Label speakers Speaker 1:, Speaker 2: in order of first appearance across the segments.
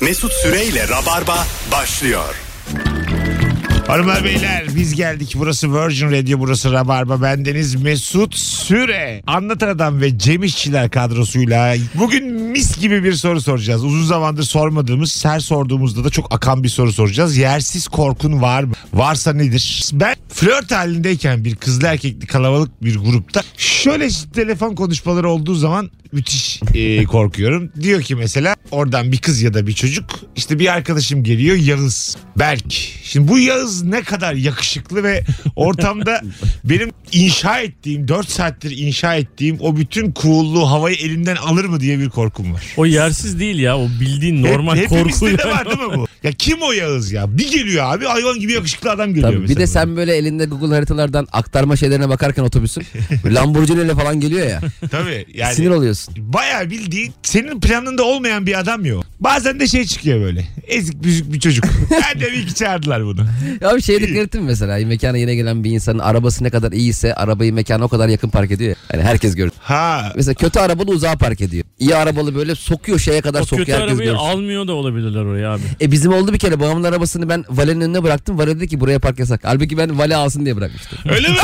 Speaker 1: Mesut Süreyle Rabarba başlıyor.
Speaker 2: Hanımlar beyler biz geldik. Burası Virgin Radio, burası Rabarba. Bendeniz Mesut Süre. Anlatan Adam ve Cem İşçiler kadrosuyla bugün mis gibi bir soru soracağız. Uzun zamandır sormadığımız, her sorduğumuzda da çok akan bir soru soracağız. Yersiz korkun var mı? Varsa nedir? Ben flört halindeyken bir kızlı erkekli kalabalık bir grupta şöyle telefon konuşmaları olduğu zaman müthiş e, korkuyorum. Diyor ki mesela oradan bir kız ya da bir çocuk işte bir arkadaşım geliyor Yağız Berk. Şimdi bu Yağız ne kadar yakışıklı ve ortamda benim inşa ettiğim 4 saattir inşa ettiğim o bütün coolluğu havayı elimden alır mı diye bir korkum var.
Speaker 3: O yersiz değil ya. O bildiğin normal
Speaker 2: Hep,
Speaker 3: korku.
Speaker 2: hepimizde de
Speaker 3: yani.
Speaker 2: var değil mi bu? Ya kim o Yağız ya? Bir geliyor abi hayvan gibi yakışıklı adam geliyor
Speaker 4: Tabii, bir
Speaker 2: mesela.
Speaker 4: de sen böyle elinde Google haritalardan aktarma şeylerine bakarken otobüsün Lamborghini ile falan geliyor ya.
Speaker 2: Tabii yani.
Speaker 4: Sinir oluyorsun.
Speaker 2: Bayağı bildiğin senin planında olmayan bir adam yok. Bazen de şey çıkıyor böyle. Ezik büzük bir çocuk. ben de bir iki çağırdılar bunu.
Speaker 4: Ya bir şey dikkat ettin mi mesela mekana yeni gelen bir insanın arabası ne kadar iyiyse arabayı mekana o kadar yakın park ediyor. ya. Hani herkes görür.
Speaker 2: Ha.
Speaker 4: Mesela kötü arabalı uzağa park ediyor. İyi arabalı böyle sokuyor şeye kadar
Speaker 3: O
Speaker 4: sokuyor
Speaker 3: kötü
Speaker 4: herkes
Speaker 3: arabayı
Speaker 4: görür.
Speaker 3: almıyor da olabilirler oraya abi.
Speaker 4: E bizim oldu bir kere babamın arabasını ben valenin önüne bıraktım. Vale dedi ki buraya park yasak. Halbuki ben vale alsın diye bırakmıştım.
Speaker 2: Öyle mi?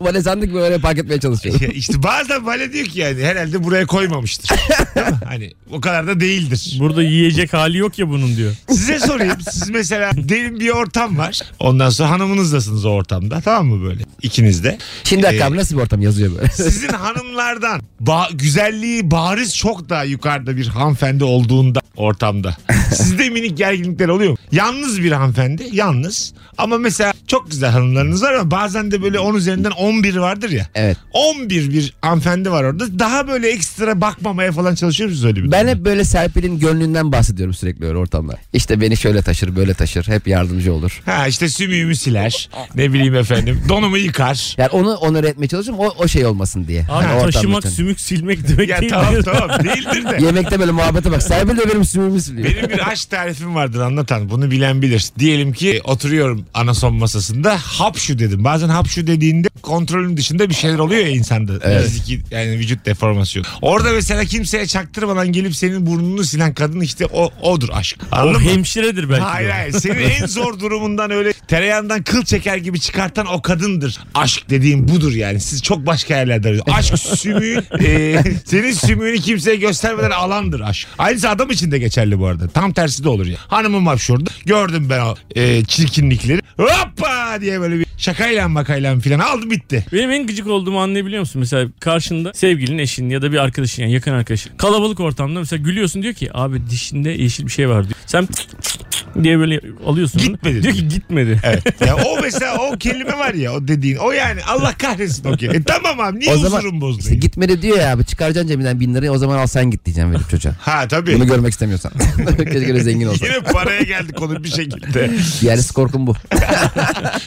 Speaker 4: vale sandık böyle oraya park etmeye çalışıyor.
Speaker 2: Ya işte bazen böyle diyor ki yani herhalde buraya koymamıştır. Değil mi? hani o kadar da değildir.
Speaker 3: Burada yiyecek hali yok ya bunun diyor.
Speaker 2: Size sorayım. Siz mesela derin bir ortam var. Ondan sonra hanımınızdasınız o ortamda. Tamam mı böyle? İkiniz de.
Speaker 3: E-
Speaker 4: Şimdi
Speaker 2: Ee,
Speaker 4: dakika abi nasıl bir ortam yazıyor böyle.
Speaker 2: Sizin hanımlardan ba- güzelliği bariz çok daha yukarıda bir hanımefendi olduğunda ortamda. Sizde minik gerginlikler oluyor mu? Yalnız bir hanımefendi. Yalnız. Ama mesela çok güzel hanımlarınız var ama bazen de böyle 10 üzerinden 11 vardır ya.
Speaker 4: Evet.
Speaker 2: 11 bir hanımefendi var orada. Daha böyle ekstra bakmamaya falan çalışıyor musunuz öyle bir
Speaker 4: Ben
Speaker 2: durumda?
Speaker 4: hep böyle Serpil'in gönlünden bahsediyorum sürekli öyle ortamda. İşte beni şöyle taşır böyle taşır hep yardımcı olur.
Speaker 2: Ha işte sümüğümü siler. Ne bileyim efendim. Donumu yıkar.
Speaker 4: Yani onu onore etmeye çalışıyorum o, o şey olmasın diye.
Speaker 3: Abi
Speaker 4: Hani ortamda
Speaker 3: taşımak,
Speaker 4: sen-
Speaker 3: sümük silmek demek
Speaker 2: Ya
Speaker 3: değil.
Speaker 2: tamam
Speaker 3: mi?
Speaker 2: tamam değildir de.
Speaker 4: Yemekte böyle muhabbete bak. Serpil de benim sümüğümü siliyor.
Speaker 2: Benim bir aş tarifim vardır anlatan. Bunu bilen bilir. Diyelim ki oturuyorum anason masasında hapşu dedim. Bazen hapşu dediğinde kontrolün dışında bir şeyler oluyor ya insanda. Fiziki yani vücut deformasyonu. Orada mesela kimseye çaktırmadan gelip senin burnunu silen kadın işte o odur aşk.
Speaker 3: O
Speaker 2: Anladın mı?
Speaker 3: hemşiredir belki.
Speaker 2: Hayır
Speaker 3: de.
Speaker 2: hayır. Seni en zor durumundan öyle tereyağından kıl çeker gibi çıkartan o kadındır. Aşk dediğim budur yani. Siz çok başka yerlerde arıyorsunuz. Aşk sümüğün e, senin sümüğünü kimseye göstermeden alandır aşk. Aynısı adam için de geçerli bu arada. Tam tersi de olur ya. Hanımım hapşurdu. Gördüm ben o e, çirkinlikleri. Hoppa diye böyle bir şakayla makayla filan aldım bitti.
Speaker 3: Benim en gıcık olduğumu anlayabiliyor musun? Mesela karşında sevgilin, eşin ya da bir arkadaşın yani yakın arkadaşın. Kalabalık ortamda mesela gülüyorsun diyor ki abi dişinde yeşil bir şey var diyor. Sen diye böyle alıyorsun. onu.
Speaker 2: Gitmedi
Speaker 3: Diyor ki gitmedi.
Speaker 2: Evet. Ya o mesela o kelime var ya o dediğin. O yani Allah kahretsin o kelime. E tamam abi niye
Speaker 4: O zaman
Speaker 2: huzurum bozdun?
Speaker 4: İşte gitmedi diyor ya abi çıkaracaksın cebinden bin lirayı o zaman al sen git diyeceğim verip çocuğa.
Speaker 2: Ha tabii.
Speaker 4: Bunu görmek istemiyorsan. Keşke de zengin olsan.
Speaker 2: Yine paraya geldi konu bir şekilde.
Speaker 4: Diğerisi korkum bu.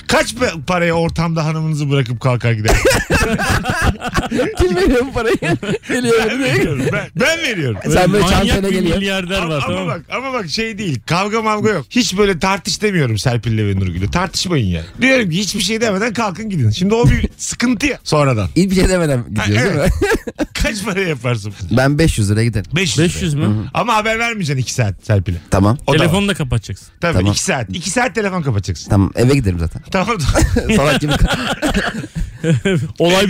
Speaker 2: Kaç pa- paraya ortamda hanımınızı bırakıp kalkar gider?
Speaker 4: Kim veriyor bu parayı? Geliyor
Speaker 2: Ben
Speaker 4: biri.
Speaker 2: veriyorum. Ben, ben veriyorum.
Speaker 4: Sen böyle
Speaker 3: Manyak
Speaker 4: çantayla
Speaker 3: bir
Speaker 4: geliyor.
Speaker 3: milyarder
Speaker 2: Ama,
Speaker 3: var tamam
Speaker 2: ama
Speaker 3: mı?
Speaker 2: bak ama bak şey değil. Kavga mavga yok. Hiç böyle tartış demiyorum Serpil'le ve Nurgül'le. Tartışmayın ya. Diyorum ki hiçbir şey demeden kalkın gidin. Şimdi o bir sıkıntı ya sonradan.
Speaker 4: İlk bir şey demeden gidiyoruz değil mi?
Speaker 2: evet. Kaç para yaparsın?
Speaker 4: Ben 500 liraya giderim.
Speaker 2: 500.
Speaker 3: 500 mü?
Speaker 2: Ama haber vermeyeceksin 2 saat Serpil'e.
Speaker 4: Tamam.
Speaker 2: O da var.
Speaker 3: Telefonu da kapatacaksın.
Speaker 2: Tabii
Speaker 4: Tamam.
Speaker 2: 2 saat. 2 saat telefon kapatacaksın.
Speaker 4: Tamam eve giderim zaten.
Speaker 2: Tamam.
Speaker 4: Salak gibi.
Speaker 3: Olay
Speaker 2: Eve-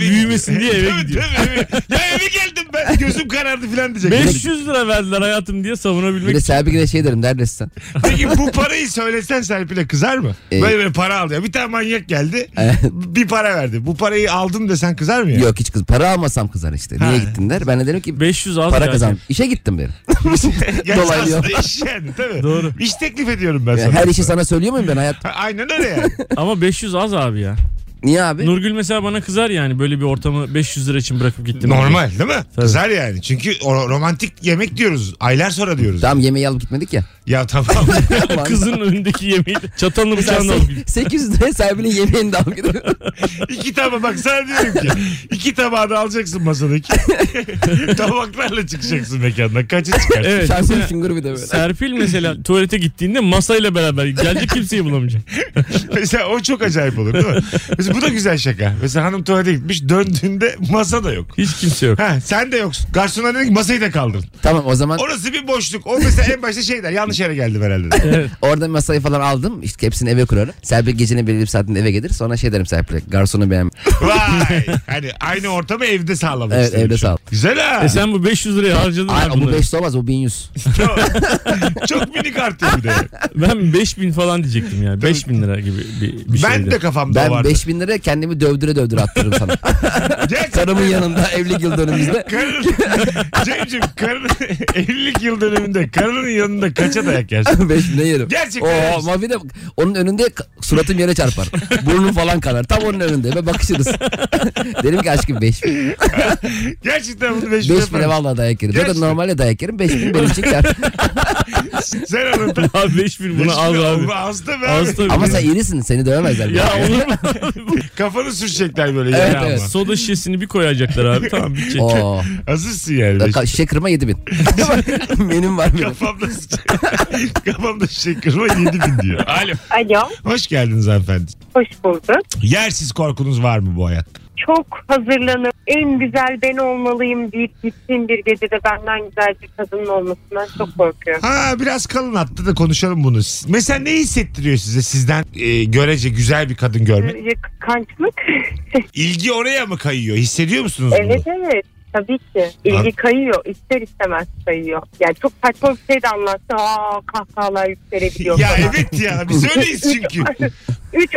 Speaker 3: büyümesin diye eve
Speaker 2: Tabii,
Speaker 3: gidiyor.
Speaker 2: tabii, eve. Ya eve geldim ben. Gözüm karardı falan diyecek.
Speaker 3: 500 lira verdiler hayatım diye
Speaker 4: Bir
Speaker 3: savunabilmek
Speaker 4: de
Speaker 3: için.
Speaker 4: Serpil'e şey derim neredesin sen?
Speaker 2: Peki bu parayı söylesen Serpil'e kızar mı?
Speaker 4: Ee,
Speaker 2: böyle böyle para aldı ya. Bir tane manyak geldi. bir para verdi. Bu parayı aldım desen kızar mı ya?
Speaker 4: Yok hiç kız. Para almasam kızar işte.
Speaker 2: Ha.
Speaker 4: Niye gittin der. Ben de derim ki
Speaker 3: 500 az
Speaker 4: para
Speaker 3: yani.
Speaker 4: kazan. İşe gittim derim.
Speaker 2: Gerçi
Speaker 4: dolaylı
Speaker 2: aslında iş yani tabii.
Speaker 3: Doğru.
Speaker 2: İş teklif ediyorum ben
Speaker 4: Yani
Speaker 2: sana.
Speaker 4: her işi sana söylüyor muyum ben hayat?
Speaker 2: Ha, Aynen öyle yani.
Speaker 3: Ama 500 az abi ya.
Speaker 4: Niye abi?
Speaker 3: Nurgül mesela bana kızar yani böyle bir ortamı 500 lira için bırakıp gittim.
Speaker 2: Normal değil mi?
Speaker 3: Tabii.
Speaker 2: Kızar yani. Çünkü o romantik yemek diyoruz. Aylar sonra diyoruz.
Speaker 4: Tamam yemeği alıp gitmedik ya.
Speaker 2: Ya tamam.
Speaker 3: Kızın önündeki yemeği çatalını
Speaker 4: Sen
Speaker 3: bıçağını
Speaker 4: se-
Speaker 3: alıp gidiyor.
Speaker 4: 800 liraya sahibinin yemeğini de alıp gidiyor.
Speaker 2: iki tabağı bak sana diyorum ki. iki tabağı da alacaksın masadaki. Tabaklarla çıkacaksın mekandan. Kaça çıkar?
Speaker 3: Evet.
Speaker 4: Şarkının
Speaker 3: mesela
Speaker 4: finguru bir de böyle.
Speaker 3: Serpil mesela tuvalete gittiğinde masayla beraber gelecek kimseyi bulamayacak.
Speaker 2: Mesela o çok acayip olur değil mi? Mesela Mesela bu da güzel şaka. Mesela hanım tuvalete gitmiş döndüğünde masa da yok.
Speaker 3: Hiç kimse yok.
Speaker 2: Ha, sen de yoksun. Garsona dedin ki masayı da kaldırın.
Speaker 4: Tamam o zaman
Speaker 2: Orası bir boşluk. O mesela en başta şey der. Yanlış yere geldim herhalde. der.
Speaker 4: Orada masayı falan aldım. İşte hepsini eve kurarım. Serpil gecenin belirli bir saatinde eve gelir. Sonra şey derim Serpil'e. Garsonu beğen.
Speaker 2: Vay. Hani aynı ortamı evde sağlamak
Speaker 4: Evet,
Speaker 2: istedim
Speaker 4: evde
Speaker 2: şu an.
Speaker 4: sağlam.
Speaker 2: Güzel ha.
Speaker 3: E sen bu 500 liraya harcadın
Speaker 4: Ay,
Speaker 3: ha
Speaker 4: bu
Speaker 3: bunları.
Speaker 4: 500 olmaz bu 1100.
Speaker 2: Tamam. Çok minik artıyor bir de.
Speaker 3: Ben 5000 falan diyecektim ya. 5000 lira gibi bir, bir
Speaker 2: ben
Speaker 3: şeydi.
Speaker 2: de kafamda o
Speaker 4: Ben
Speaker 2: vardı.
Speaker 4: 5000 lira kendimi dövdüre dövdüre attırırım sana.
Speaker 2: Gerçekten
Speaker 4: Karımın yanında evlilik yıl dönümümüzde.
Speaker 2: karın, Cem'cim karın 50 yıl dönümünde karının yanında kaça dayak yersin?
Speaker 4: 5000 lira yerim.
Speaker 2: Gerçekten şey.
Speaker 4: Oo,
Speaker 2: yersin.
Speaker 4: mavi de onun önünde ka- suratım yere çarpar. Burnum falan kanar. Tam onun önünde ve bakışırız. derim ki aşkım 5000.
Speaker 2: Gerçekten bunu 5 bin
Speaker 4: 5000 lira
Speaker 2: yaparım.
Speaker 4: vallahi dayak yerim. Zaten
Speaker 2: Gerçekten.
Speaker 4: normalde dayak yerim. 5000 benim için kar.
Speaker 2: Sen anlatın.
Speaker 3: Abi 5000
Speaker 2: Bunu
Speaker 3: bunu al abi.
Speaker 2: Bunu ağızda ver.
Speaker 3: Ağız tabii.
Speaker 4: Ama sen irisin. Seni dövemezler.
Speaker 3: ya olur mu?
Speaker 2: Kafanı sürecekler böyle
Speaker 4: Evet,
Speaker 2: yere ama.
Speaker 4: evet.
Speaker 3: Soda şişesini bir koyacaklar abi. Tamam bitecek.
Speaker 4: Oo.
Speaker 2: Hazırsın yani. beş-
Speaker 4: Oh. Ka- Şişe kırma 7000. Benim var benim.
Speaker 2: Kafamda sıcak- Kafamda şişe kırma 7 bin diyor. Alo.
Speaker 5: Alo,
Speaker 2: Hoş geldiniz hanımefendi.
Speaker 5: hoş bulduk.
Speaker 2: Yersiz korkunuz var mı bu hayat?
Speaker 5: Çok hazırlanıp en güzel ben olmalıyım deyip gittiğim bir gecede benden güzel bir kadının olmasından çok korkuyorum.
Speaker 2: Ha biraz kalın attı da konuşalım bunu. Mesela ne hissettiriyor size sizden e, görece güzel bir kadın görmek?
Speaker 5: Kançlık.
Speaker 2: İlgi oraya mı kayıyor? Hissediyor musunuz
Speaker 5: evet
Speaker 2: bunu?
Speaker 5: evet. Tabii ki. İlgi kayıyor. ister istemez kayıyor. Yani çok saçma bir şey de anlatsın. Aa kahkahalar yükselebiliyor.
Speaker 2: Ya
Speaker 5: falan.
Speaker 2: evet ya biz öyleyiz çünkü.
Speaker 5: 3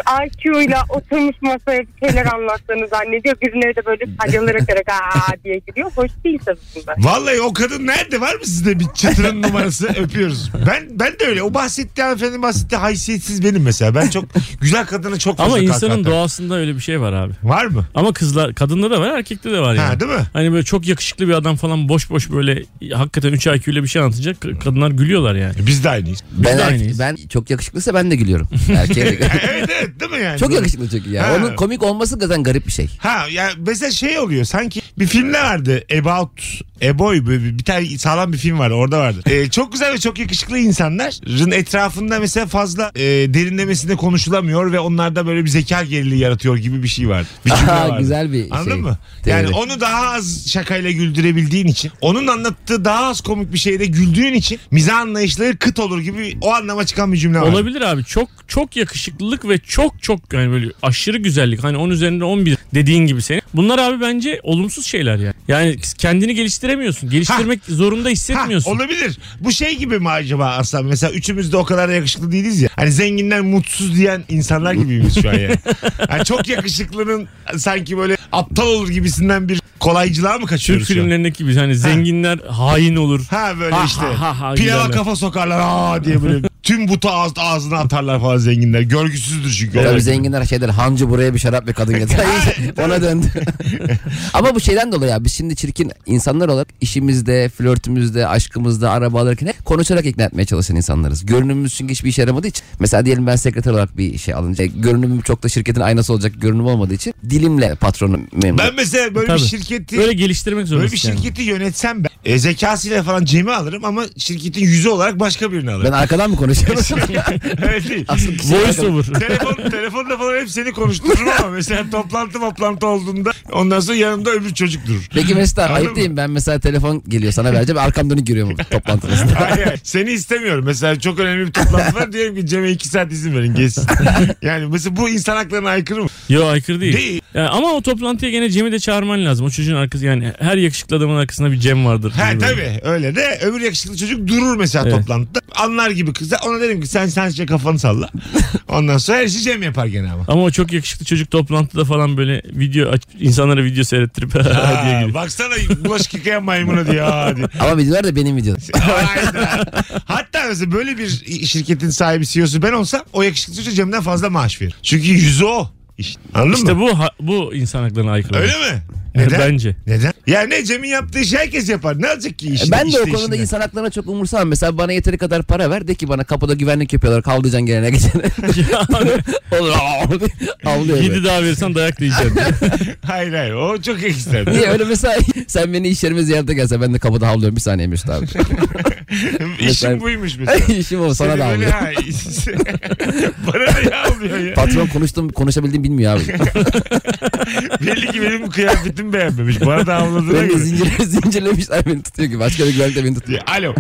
Speaker 5: IQ'yla oturmuş masaya bir şeyler anlattığını zannediyor. Birine de böyle salyalar akarak aa diye gidiyor. Hoş değil tabii bunlar.
Speaker 2: Vallahi o kadın nerede var mı sizde bir çıtırın numarası öpüyoruz. Ben ben de öyle. O bahsettiği hanımefendi bahsettiği haysiyetsiz benim mesela. Ben çok güzel kadını çok fazla
Speaker 3: Ama insanın
Speaker 2: kalkarım.
Speaker 3: doğasında öyle bir şey var abi.
Speaker 2: Var mı?
Speaker 3: Ama kızlar kadında da var erkekte de var yani.
Speaker 2: Ha değil mi?
Speaker 3: Hani böyle çok yakışıklı bir adam falan boş boş böyle hakikaten 3 IQ ile bir şey anlatacak. K- Kadınlar gülüyorlar yani.
Speaker 2: E, Biz de aynıyız.
Speaker 4: Ben,
Speaker 3: de
Speaker 4: erke-
Speaker 3: aynıyız.
Speaker 4: ben çok yakışıklıysa ben de gülüyorum. Erkeğe de-
Speaker 2: Evet evet değil mi yani?
Speaker 4: çok yakışıklı çünkü ya.
Speaker 2: Ha.
Speaker 4: Onun komik olması zaten garip bir şey.
Speaker 2: Ha ya mesela şey oluyor sanki bir filmde vardı About A Boy böyle bir, bir tane sağlam bir film vardı orada vardı. Ee, çok güzel ve çok yakışıklı insanların etrafında mesela fazla e, derinlemesine konuşulamıyor ve onlarda böyle bir zeka geriliği yaratıyor gibi bir şey vardı. Bir cümle
Speaker 4: Aha,
Speaker 2: vardı.
Speaker 4: güzel bir
Speaker 2: Anladın
Speaker 4: şey.
Speaker 2: mı?
Speaker 4: Teori.
Speaker 2: Yani onu daha az şakayla güldürebildiğin için onun anlattığı daha az komik bir şeyde güldüğün için mizah anlayışları kıt olur gibi o anlama çıkan bir cümle var.
Speaker 3: Olabilir abi. Çok çok yakışıklılık ve çok çok yani böyle aşırı güzellik. Hani 10 üzerinde 11 dediğin gibi senin. Bunlar abi bence olumsuz şeyler yani. Yani kendini geliştiremiyorsun. Geliştirmek zorunda
Speaker 2: Ha,
Speaker 3: hissetmiyorsun.
Speaker 2: olabilir. Bu şey gibi mi acaba aslan? Mesela üçümüz de o kadar da yakışıklı değiliz ya. Hani zenginler mutsuz diyen insanlar gibiyiz şu an yani. Hani çok yakışıklının sanki böyle aptal olur gibisinden bir kolaycılığa mı
Speaker 3: Türk
Speaker 2: kaçıyoruz şu an?
Speaker 3: filmlerindeki gibi hani zenginler hain olur.
Speaker 2: Ha böyle
Speaker 3: Ha,
Speaker 2: işte.
Speaker 3: ha, ha,
Speaker 2: pilava
Speaker 3: ha, güzeller.
Speaker 2: kafa sokarlar aa diye böyle. Tüm butu ağız, ağzına atarlar falan zenginler. Görgüsüzdür çünkü.
Speaker 4: Tabii
Speaker 2: Olabilir.
Speaker 4: zenginler şeyler hancı buraya bir şarap bir kadın getir. Ona döndü. Ama bu şeyden dolayı ya biz şimdi çirkin insanlar olarak işimizde, flörtümüzde, aşkımızda, araba alırken hep konuşarak ikna etmeye çalışan insanlarız. Görünümümüz çünkü hiçbir işe yaramadığı için. Mesela diyelim ben sekreter olarak bir şey alınca e, görünümüm çok da şirketin aynası olacak görünüm olmadığı için dilimle patronu memnun.
Speaker 2: Ben mesela böyle
Speaker 3: Tabii.
Speaker 2: bir şirketi...
Speaker 3: Böyle geliştirmek zorundasın.
Speaker 2: Böyle bir şey
Speaker 3: yani.
Speaker 2: şirketi yönetsem ben e, zekasıyla falan Cem'i alırım ama şirketin yüzü olarak başka birini
Speaker 4: Ben
Speaker 2: alırım.
Speaker 4: arkadan mı konuşuyorum?
Speaker 2: Öyle değil.
Speaker 4: Aslında şey kişi-
Speaker 3: Voice over.
Speaker 2: Telefon, telefonda falan hep seni konuştururum ama mesela toplantı toplantı olduğunda ondan sonra yanımda öbür çocuk durur.
Speaker 4: Peki mesela
Speaker 2: Anladın
Speaker 4: ayıp
Speaker 2: mı?
Speaker 4: değil mi? Ben mesela telefon geliyor sana vereceğim arkam dönük giriyorum toplantınızda.
Speaker 2: Hayır, hayır. seni istemiyorum. Mesela çok önemli bir toplantı var. Diyelim ki Cem'e iki saat izin verin geçsin. Yani mesela bu insan haklarına aykırı mı?
Speaker 3: Yo aykırı değil.
Speaker 2: Değil.
Speaker 3: Yani ama o toplantıya gene Cem'i de çağırman lazım. O çocuğun arkası yani her yakışıklı adamın arkasında bir Cem vardır.
Speaker 2: Ha
Speaker 3: Bilmiyorum.
Speaker 2: tabii öyle de öbür yakışıklı çocuk durur mesela
Speaker 3: Evet.
Speaker 2: toplantıda. Anlar gibi kızlar. Ona derim ki sen sadece kafanı salla. Ondan sonra her işi Cem yapar gene ama.
Speaker 3: Ama o çok yakışıklı çocuk toplantıda falan böyle video aç, insanlara video seyrettirip
Speaker 2: Aa,
Speaker 3: diye gülüyor.
Speaker 2: baksana bulaşık yıkayan maymuna diye. Aa, diye.
Speaker 4: Ama videolar da benim videolar.
Speaker 2: Hayda. Hatta mesela böyle bir şirketin sahibi CEO'su ben olsam o yakışıklı çocuğa Cem'den fazla maaş verir. Çünkü yüzü o. İşte, anladın
Speaker 3: İşte
Speaker 2: mı?
Speaker 3: bu ha- bu insan haklarına aykırı.
Speaker 2: Öyle mi? Neden?
Speaker 3: Bence.
Speaker 2: Neden? Ya ne Cem'in yaptığı işi herkes yapar. Ne olacak ki işte?
Speaker 4: ben de o
Speaker 2: işte
Speaker 4: konuda
Speaker 2: işinde.
Speaker 4: insan haklarına çok umursamam. Mesela bana yeteri kadar para ver de ki bana kapıda güvenlik yapıyorlar kavlayacaksın gelene geçene. Olur ağlıyor. Ağlıyor. böyle.
Speaker 3: 7 daha verirsen dayak diyeceğim.
Speaker 2: Hayır hayır o çok ekstrem.
Speaker 4: Niye öyle mesela sen beni iş yerime ziyarete gelse ben de kapıda havlıyorum bir saniye Mesut abi.
Speaker 2: İşim
Speaker 4: Mesela-
Speaker 2: buymuş mesela.
Speaker 4: İşim o sana
Speaker 2: Seni
Speaker 4: da
Speaker 2: böyle
Speaker 4: alıyor.
Speaker 2: ha- Bana ne almıyor ya?
Speaker 4: Patron konuştum konuşabildiğimi bilmiyor abi.
Speaker 2: Belli ki benim kıyafetimi beğenmemiş. Bana da avladığına
Speaker 4: Beni
Speaker 2: göre.
Speaker 4: zincirle, zincirlemişler beni tutuyor ki. Başka bir güvenlik de beni tutuyor.
Speaker 2: Ya, Alo.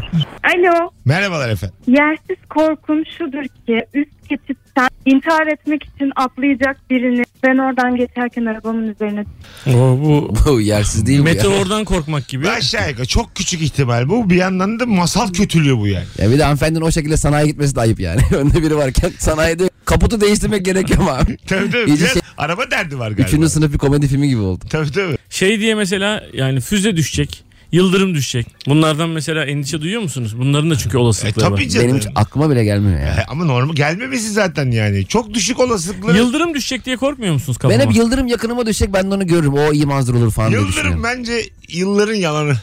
Speaker 5: Alo.
Speaker 2: Merhabalar efendim.
Speaker 5: Yersiz korkum şudur ki üst geçitten intihar etmek için atlayacak birini ben oradan geçerken arabamın üzerine
Speaker 3: O, bu
Speaker 4: Bu yersiz değil bu ya.
Speaker 3: meteordan korkmak gibi.
Speaker 2: Aşağı yukarı çok küçük ihtimal bu. Bir yandan da masal kötülüğü bu yani.
Speaker 4: Ya bir de hanımefendinin o şekilde sanayiye gitmesi de ayıp yani. Önde biri varken sanayide kaputu değiştirmek gerekiyor mu abi?
Speaker 2: Tabii tabii.
Speaker 4: İyice
Speaker 2: Biraz
Speaker 4: şey-
Speaker 2: Araba derdi var galiba.
Speaker 4: Üçüncü sınıf bir komedi filmi gibi oldu.
Speaker 2: Tabii tabii.
Speaker 3: Şey diye mesela yani füze düşecek. Yıldırım düşecek. Bunlardan mesela endişe duyuyor musunuz? Bunların da çünkü
Speaker 2: E,
Speaker 3: olasılıkları var.
Speaker 2: tabii canım.
Speaker 4: Benim hiç aklıma bile gelmiyor ya.
Speaker 2: E, Ama normal gelmemesi zaten yani. Çok düşük olasılıkla.
Speaker 3: Yıldırım düşecek diye korkmuyor musunuz
Speaker 4: Ben
Speaker 3: kafama?
Speaker 4: hep yıldırım yakınıma düşecek ben de onu görürüm. O iyi manzara olur falan diye
Speaker 2: Yıldırım
Speaker 4: düşünüyorum.
Speaker 2: bence yılların yalanı.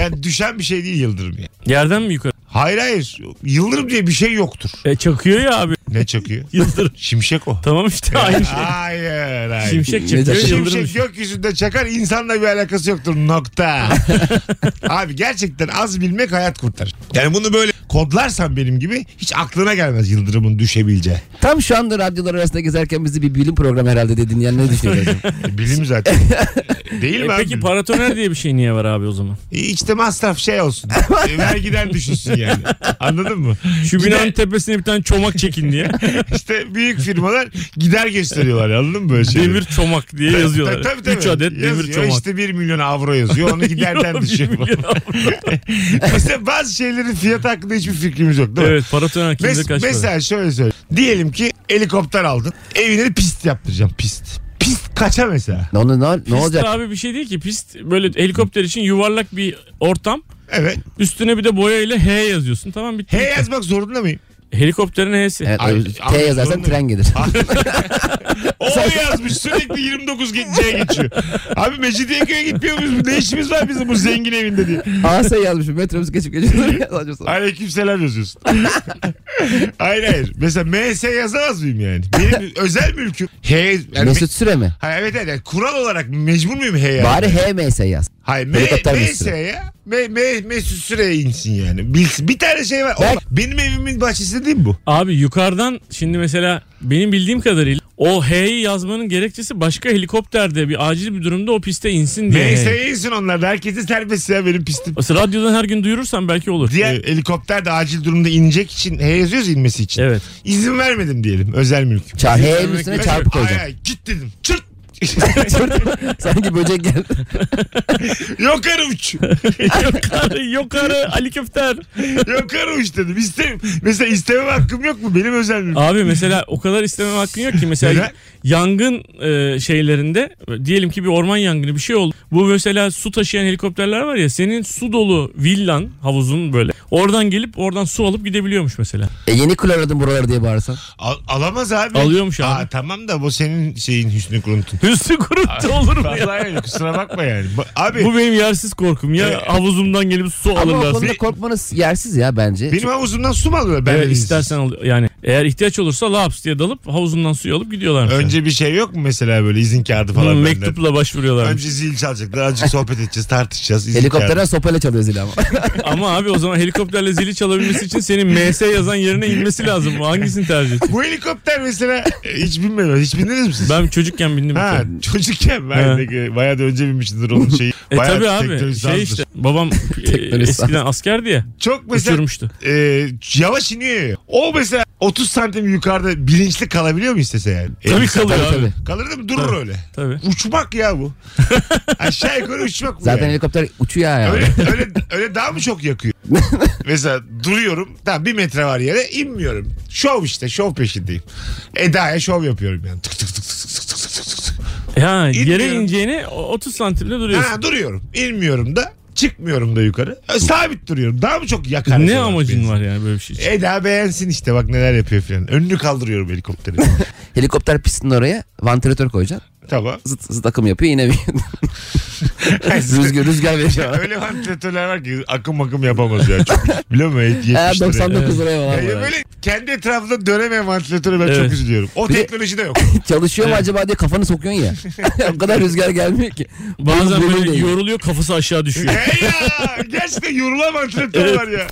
Speaker 2: yani düşen bir şey değil yıldırım yani.
Speaker 3: Yerden mi yukarı?
Speaker 2: Hayır hayır. Yıldırım diye bir şey yoktur.
Speaker 3: E çakıyor ya abi.
Speaker 2: Ne çakıyor?
Speaker 3: Yıldırım.
Speaker 2: Şimşek o.
Speaker 3: tamam işte aynı şey.
Speaker 2: Hayır hayır.
Speaker 3: Şimşek
Speaker 4: Ne
Speaker 3: çakıyor
Speaker 4: diyorsun?
Speaker 3: yıldırım.
Speaker 2: Şimşek
Speaker 3: düşüyor.
Speaker 2: gökyüzünde çakar insanla bir alakası yoktur nokta. Abi gerçekten az bilmek hayat kurtarır. Yani bunu böyle kodlarsan benim gibi hiç aklına gelmez yıldırımın düşebileceği.
Speaker 4: Tam şu anda radyolar arasında gezerken bizi bir bilim programı herhalde de dinleyenleri düşünüyoruz.
Speaker 2: E, Bilim zaten. Değil mi
Speaker 3: E peki
Speaker 2: abi?
Speaker 3: paratoner diye bir şey niye var abi o zaman?
Speaker 2: E, İşte masraf şey olsun. E, Vergiden düşünsün yani. Anladın mı?
Speaker 3: Şu
Speaker 2: Gider-
Speaker 3: binanın tepesine bir tane çomak çekin diye.
Speaker 2: İşte büyük firmalar gider gösteriyorlar anladın mı böyle şeyleri?
Speaker 3: demir çomak diye yazıyorlar. 3 adet demir
Speaker 2: Yazıyor,
Speaker 3: çomak.
Speaker 2: İşte 1 milyon avro yazıyor. Onu giderden düşüyor. mesela bazı şeylerin fiyat hakkında hiçbir fikrimiz yok değil mi?
Speaker 3: evet paratoner kimde
Speaker 2: Mes-
Speaker 3: kaç para?
Speaker 2: mesela şöyle söyle. Diyelim ki helikopter aldın. Evine pist yaptıracağım pist. Pist kaça mesela?
Speaker 4: ne, ne, ne, ne
Speaker 3: Pist
Speaker 4: olacak?
Speaker 3: abi bir şey değil ki. Pist böyle helikopter için yuvarlak bir ortam.
Speaker 2: Evet.
Speaker 3: Üstüne bir de boya ile H yazıyorsun. Tamam bitti.
Speaker 2: H yazmak zorunda mıyım?
Speaker 3: Helikopterin H'si.
Speaker 4: Evet,
Speaker 2: Ay,
Speaker 4: T
Speaker 2: anladım,
Speaker 4: yazarsan
Speaker 2: anladım.
Speaker 4: tren gelir.
Speaker 2: O yazmış sürekli 29 C'ye geçiyor. Abi Mecidiyeköy'e gitmiyor muyuz? Ne işimiz var bizim bu zengin evinde diye.
Speaker 4: AS yazmış metrobüs geçip geçiyor.
Speaker 2: Aleyküm selam yazıyorsun. hayır hayır. Mesela MS yazamaz mıyım yani? Benim özel mülküm. H, yani
Speaker 4: Mesut Süre mi?
Speaker 2: Hayır evet evet. Yani kural olarak mecbur muyum H yani?
Speaker 4: Bari HMS yaz.
Speaker 2: Hayır M,
Speaker 4: Helikopter Mesut
Speaker 2: MS
Speaker 4: Süre.
Speaker 2: ya. M, M, Mesut Süre insin yani. Bilsin. Bir tane şey var. O-
Speaker 4: Ben-
Speaker 2: benim evimin bahçesi değil mi bu?
Speaker 3: Abi yukarıdan şimdi mesela benim bildiğim kadarıyla o H'yi yazmanın gerekçesi başka helikopterde bir acil bir durumda o piste insin diye.
Speaker 2: MS'ye insin onlar da. Herkese serbest ya benim pistim.
Speaker 3: Aslında Radyodan her gün duyurursam belki olur.
Speaker 2: Diğer helikopter de acil durumda inecek için H yazıyoruz inmesi için.
Speaker 3: Evet.
Speaker 2: İzin vermedim diyelim özel mülk.
Speaker 4: Ça H'nin üstüne
Speaker 2: Mesela-
Speaker 4: çarpı
Speaker 2: Ay,
Speaker 4: koyacaksın.
Speaker 2: ay, git dedim. Çırt.
Speaker 4: Sanki böcek geldi.
Speaker 2: Yokarım uç.
Speaker 3: yukarı yukarı Ali Köfter.
Speaker 2: Yokarım uç dedim. İsterim. Mesela istemem hakkım yok mu? Benim özel mülk.
Speaker 3: Abi mesela o kadar istemem hakkın yok ki mesela
Speaker 2: Neden?
Speaker 3: yangın e, şeylerinde e, diyelim ki bir orman yangını bir şey oldu. Bu mesela su taşıyan helikopterler var ya senin su dolu villan havuzun böyle. Oradan gelip oradan su alıp gidebiliyormuş mesela.
Speaker 4: E, yeni klorladım buraları diye bağırsan.
Speaker 2: Al- alamaz abi.
Speaker 3: Alıyormuş abi.
Speaker 2: Aa, tamam da bu senin şeyin Hüsnü Kuruntun.
Speaker 3: Hüsnü kuruttu olur mu ya?
Speaker 2: Vallahi öyle, kusura bakma yani. Ba- Abi
Speaker 3: Bu benim yersiz korkum ya havuzumdan gelip su
Speaker 4: Ama o
Speaker 3: alırlar.
Speaker 4: konuda korkmanız yersiz ya bence.
Speaker 2: benim havuzumdan su mu alıyorlar? Ben
Speaker 3: Evet,
Speaker 2: izinsiz?
Speaker 3: istersen al- yani eğer ihtiyaç olursa laps diye dalıp havuzundan suyu alıp gidiyorlar.
Speaker 2: Önce bir şey yok mu mesela böyle izin kağıdı falan? benden?
Speaker 3: mektupla başvuruyorlar.
Speaker 2: Önce zil çalacaklar. Azıcık sohbet edeceğiz, tartışacağız. izin
Speaker 4: Helikopterden sopayla çalıyor zili ama.
Speaker 3: Ama abi o zaman helikopterle zili çalabilmesi için senin MS yazan yerine inmesi lazım. Hangisini tercih edeceksin?
Speaker 2: Bu helikopter mesela e, hiç binmiyorum. Hiç bindiniz mi siz?
Speaker 3: Ben çocukken bindim. bir
Speaker 2: Ha
Speaker 3: kere.
Speaker 2: çocukken ben
Speaker 3: Ha.
Speaker 2: de bayağı da önce binmişsindir onun şeyi.
Speaker 3: E
Speaker 2: Bayağı
Speaker 3: tabi abi
Speaker 2: teknoloji
Speaker 3: şey
Speaker 2: azdır.
Speaker 3: işte babam e,
Speaker 4: Teknoloji
Speaker 3: eskiden askerdi ya
Speaker 2: Çok mesela
Speaker 3: uçurmuştu.
Speaker 2: e, yavaş iniyor. ya. O mesela 30 santim yukarıda bilinçli kalabiliyor mu istese yani?
Speaker 3: Tabii
Speaker 2: Elli
Speaker 3: kalıyor
Speaker 4: tabii,
Speaker 3: abi.
Speaker 4: tabii.
Speaker 2: santim. Kalır değil mi? Durur
Speaker 3: Tabii.
Speaker 2: öyle.
Speaker 3: Tabii.
Speaker 2: Uçmak ya bu. Aşağı yukarı uçmak bu
Speaker 4: Zaten
Speaker 2: yani.
Speaker 4: helikopter uçuyor ya.
Speaker 2: Öyle, öyle, öyle daha mı çok yakıyor? Mesela duruyorum. Tamam bir metre var yere inmiyorum. Şov işte şov peşindeyim. Eda'ya şov yapıyorum yani. Tık tık tık tık tık tık tık tık tık.
Speaker 3: Ha, yere
Speaker 2: İnmiyorum.
Speaker 3: ineceğine o- 30 santimde duruyorsun.
Speaker 2: Ha, duruyorum. İnmiyorum da çıkmıyorum da yukarı. E, Sabit duruyorum. Daha mı çok yakar?
Speaker 3: ne
Speaker 2: acaba
Speaker 3: amacın
Speaker 2: benzin?
Speaker 3: var yani böyle bir şey için?
Speaker 2: Eda beğensin işte bak neler yapıyor filan. Önünü kaldırıyorum helikopterin.
Speaker 4: Helikopter pistinin oraya vantilatör koyacaksın.
Speaker 2: Tamam.
Speaker 4: Zıt zıt akım yapıyor yine bir rüzgar rüzgar veriyor.
Speaker 2: Öyle ventilatörler var ki akım akım yapamaz ya. Çok, biliyor musun? Yet-
Speaker 3: Ee,
Speaker 4: Ha,
Speaker 2: 70 liraya.
Speaker 4: 99 Ee, liraya
Speaker 2: Ya
Speaker 4: falan. böyle.
Speaker 2: böyle kendi etrafında dönemeyen ventilatörü ben çok
Speaker 3: Evet.
Speaker 2: üzülüyorum. O
Speaker 4: Bir de-
Speaker 2: teknoloji de yok.
Speaker 4: Çalışıyor mu acaba diye kafanı sokuyorsun ya. o kadar rüzgar gelmiyor ki.
Speaker 3: Bazen
Speaker 4: Benim
Speaker 3: böyle
Speaker 4: değil.
Speaker 3: yoruluyor kafası aşağı düşüyor.
Speaker 2: Hey ya! Gerçekten yorulan ventilatör var ya.